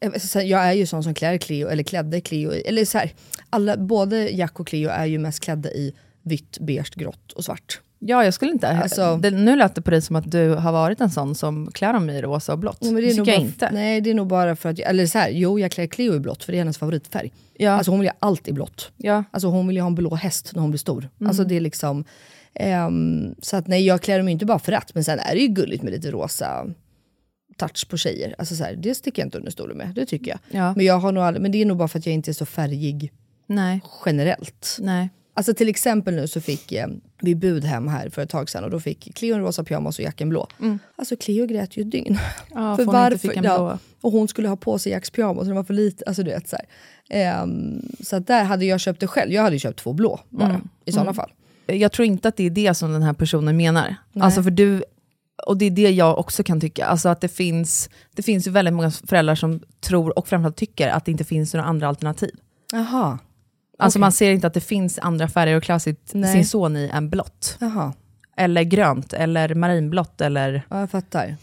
Eh, så här, Jag är ju sån som klär Cleo, eller klädde Cleo i, eller så här, alla, både Jack och Cleo är ju mest klädda i vitt, beige, grått och svart.
Ja, jag skulle inte... Eh,
Alltså-
det, nu lät det på dig som att du har varit en sån som klär om mig i rosa och blått.
Ja, men det är nog
tycker jag
bara,
inte.
Nej, det är nog bara för att... jag- Eller så här, jo, jag klär Cleo i blått, för det är hennes favoritfärg.
Ja.
Alltså hon vill ju ha allt i blått.
Ja.
Alltså hon vill ju ha en blå häst när hon blir stor.
Mm.
Alltså det är liksom... ehm, så att nej, jag klär dem ju inte bara för att, men sen är det ju gulligt med lite rosa touch på tjejer. Alltså så här, det sticker jag inte under stolen med, det tycker jag.
Ja.
Men, jag har nog aldrig, men det är nog bara för att jag inte är så färgig
Nej.
generellt.
Nej.
Alltså till exempel nu så fick eh, vi bud hem här för ett tag sedan och då fick Cleo en rosa pyjamas och Jack en blå. Alltså Cleo grät ju ett dygn.
Mm. Ja, för hon inte fick en blå.
och hon skulle ha på sig Jacks pyjamas och den var för liten. Alltså, du vet, så här. Ehm, så att där hade jag köpt det själv. Jag hade ju köpt två blå bara
Mm.
i sådana fall.
jag tror inte att det är det som den här personen menar. Alltså för du, och det är det jag också kan tycka, alltså att det finns, det finns ju väldigt många föräldrar som tror och framförallt tycker att det inte finns några andra alternativ.
Jaha.
Alltså
Okej.
man ser inte att det finns andra färger att klä sitt,
Nej.
sin son i än blått.
Jaha.
Eller grönt, eller marinblått, eller...
Ja, jag fattar.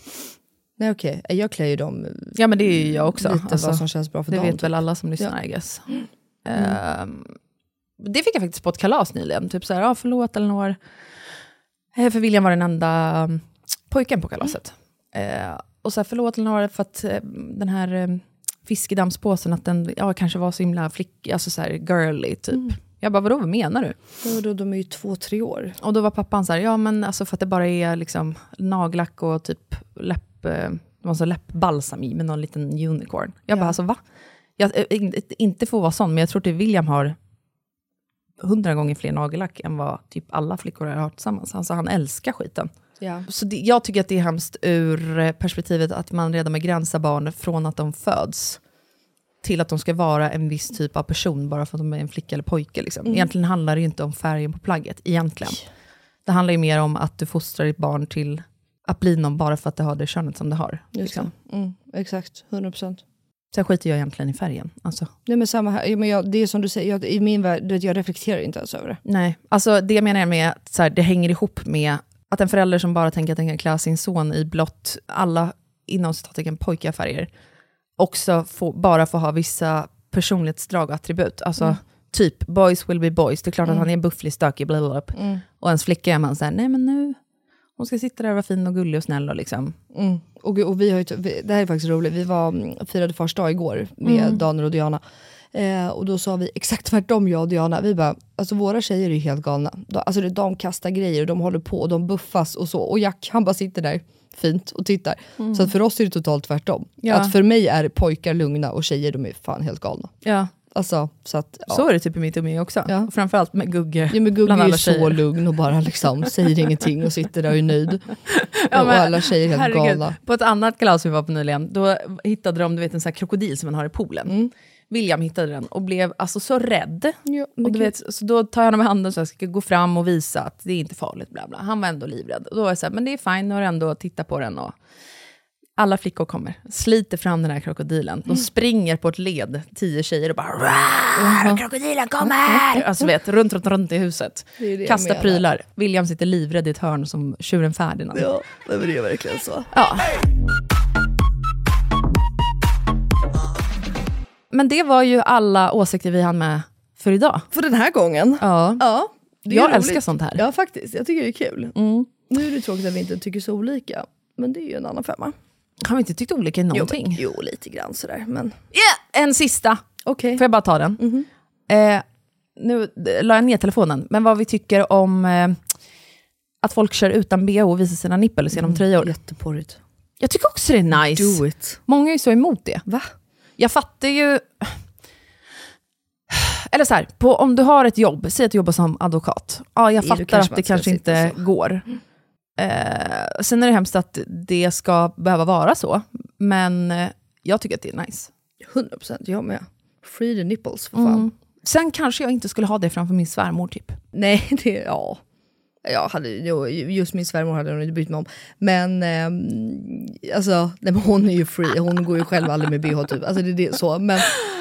Nej okej, jag klär ju dem eh,
Ja men det är ju jag också. alltså.
lite vad som känns bra för
det
dem.
vet
typ. Mm.
väl alla som lyssnar, I guess. Ehm, det fick jag faktiskt på ett kalas nyligen. Typ såhär, ah, förlåt Elinor. Eh, För William var den enda mm, pojken på kalaset.
Mm.
Eh, och så här, förlåt Elinor för att eh, den här eh, fiskedammspåsen, att den ja, kanske var så himla flick, alltså så här girly typ.
Mm.
Jag bara, vadå, vad menar du?
Ja, då, de är ju två, tre år.
Och då var pappan så här, ja men alltså för att det bara är liksom nagellack och typ läpp, eh, det var så läppbalsam i med någon liten unicorn. Jag bara, alltså va? Jag, eh, in- inte för att vara sån, men jag tror att William har hundra gånger fler nagellack än vad typ alla flickor har tillsammans. Alltså han älskar skiten.
Ja.
Så det, jag tycker att det är hemskt ur eh, perspektivet att man redan begränsar barn från att de föds till att de ska vara en viss typ av person bara för att de är en flicka eller pojke. Liksom. Egentligen handlar det ju inte om färgen på plagget, egentligen. Det handlar ju mer om att du fostrar ditt barn till att bli någon bara för att det har det könet som det har. Liksom.
Mm, exakt, 100 procent.
Sen skiter jag egentligen i färgen. Alltså.
Nej men samma här, Ja, men jag, det är som du säger, jag, i min värld, du vet, jag reflekterar inte ens över det.
Nej, alltså det menar jag med att så här, det hänger ihop med att en förälder som bara tänker att den kan klä sin son i blått, alla inom citattecken pojkiga färger, också få, bara får ha vissa personlighetsdrag och attribut. Alltså
Mm.
typ, boys will be boys. Det är klart att han är bufflig, stökig, bla bla bla.
Mm.
Och ens flicka är man så här, nej men nu, hon ska sitta där och vara fin och gullig och snäll och liksom.
Mm. Och, gud, och vi har ju, t- vi, det här är faktiskt roligt, vi var, mm, firade fars dag igår med Daniel och Diana. Eh, och då sa vi exakt tvärtom jag och Diana, vi bara, alltså våra tjejer är ju helt galna. De, alltså det- de kastar grejer och de håller på och de buffas och så. Och Jack han bara sitter där fint och tittar. Så att för oss är det totalt tvärtom.
Ja.
Att för mig är pojkar lugna och tjejer de är fan helt galna.
Ja.
Alltså, så att, ja.
Så är det typ i mitt umgänge också.
Ja.
Och Framförallt med Gugge.
Ja, men Gugge
bland
är
alla
ju så
tjejer.
lugn och bara liksom säger ingenting och sitter där och är nöjd. och alla tjejer är helt galna.
På ett annat kalas vi var på nyligen, då hittade de du vet, en sån här krokodil som man har i poolen. William hittade den och blev alltså så rädd.
Mm. Ja, men
och du
gud.
vet, så då tar jag honom i handen så jag ska gå fram och visa att det är inte farligt. Bla bla. Han var ändå livrädd. Och då var jag så här, men det är fine, nu har jag ändå tittat på den. Och alla flickor kommer, sliter fram den här krokodilen.
Mm.
De springer på ett led, tio tjejer och bara "Rar,
Mm-hmm.
“Krokodilen kommer!” Alltså vet, runt, runt, runt i huset.
Det är det jag
Kastar
menar.
prylar. William sitter livrädd i ett hörn som tjuren Ferdinand.
Ja, det är verkligen så.
Ja. Men det var ju alla åsikter vi hann med för idag.
För den här gången.
Ja.
Ja, det är
Jag
roligt.
älskar Mm. sånt här.
Ja, faktiskt. Jag tycker det är kul. Nu är det tråkigt att vi inte tycker så olika, men det är ju en annan femma.
Har vi inte tyckt olika i någonting?
Jo, men, jo, lite grann sådär, men
Yeah! En sista.
okej. Mhm.
Får jag bara ta den? Eh, nu d- la jag ner telefonen, men vad vi tycker om eh, att folk kör utan bh och visar sina nipples genom tröjor.
Jätteporrigt.
Mm. Jag tycker också det är nice.
Do it.
Många är ju så emot det.
Va?
Jag fattar ju... Eller så här, på, om du har ett jobb, säg att du jobbar som advokat. Ja, jag
Då
fattar
kanske
att
man
det
ska
kanske
sitta
inte går. Eh, sen är det hemskt att det ska behöva vara så, men eh, jag tycker att det är nice.
100% jag med. Free the nipples,
Mm.
för fan.
Sen kanske jag inte skulle ha det framför min svärmor typ.
Nej, [laughs] det... Ja. Jag hade, jo, just min svärmor hade jag nog inte brytt mig om. Men ehm, alltså, nej, men hon är ju free, hon går ju själv aldrig med bh typ. Alltså, det, är det, så. Men,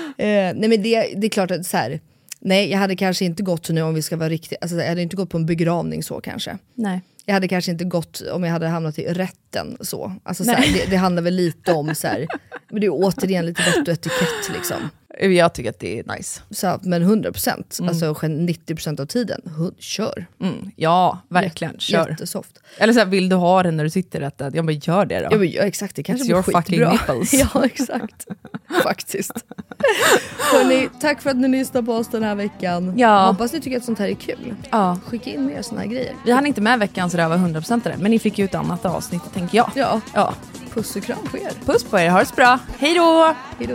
eh, nej, men det, det är klart att så här, nej jag hade kanske inte gått nu om vi ska vara riktiga, alltså, jag hade inte gått på en begravning så kanske.
Nej.
Jag hade kanske inte gått om jag hade hamnat i rätten så. Alltså, så här, det, det handlar väl lite om så här, men det är återigen lite vett och etikett liksom.
Jag tycker att det är nice.
Så, men 100%,
Mm.
alltså gen- 90% av tiden, hu- kör.
Mm, ja, verkligen.
Jätte-
Kör.
Jättesoft.
Eller så här, vill du ha den när du sitter rättad? Ja men gör det då.
Ja, men, ja exakt, det kanske
It's
blir
your
skitbra.
fucking
[laughs]
nipples.
ja exakt, faktiskt. [laughs] Hörrni, tack för att ni lyssnade på oss den här veckan.
Ja.
Hoppas ni tycker att sånt här är kul.
Ja.
Skicka in mer såna här grejer.
Vi hann inte med veckans röva 100% men ni fick ju ett annat avsnitt tänker jag.
Ja.
ja.
Puss och kram på er.
Puss på er, ha det så bra. Hej då!
Hejdå.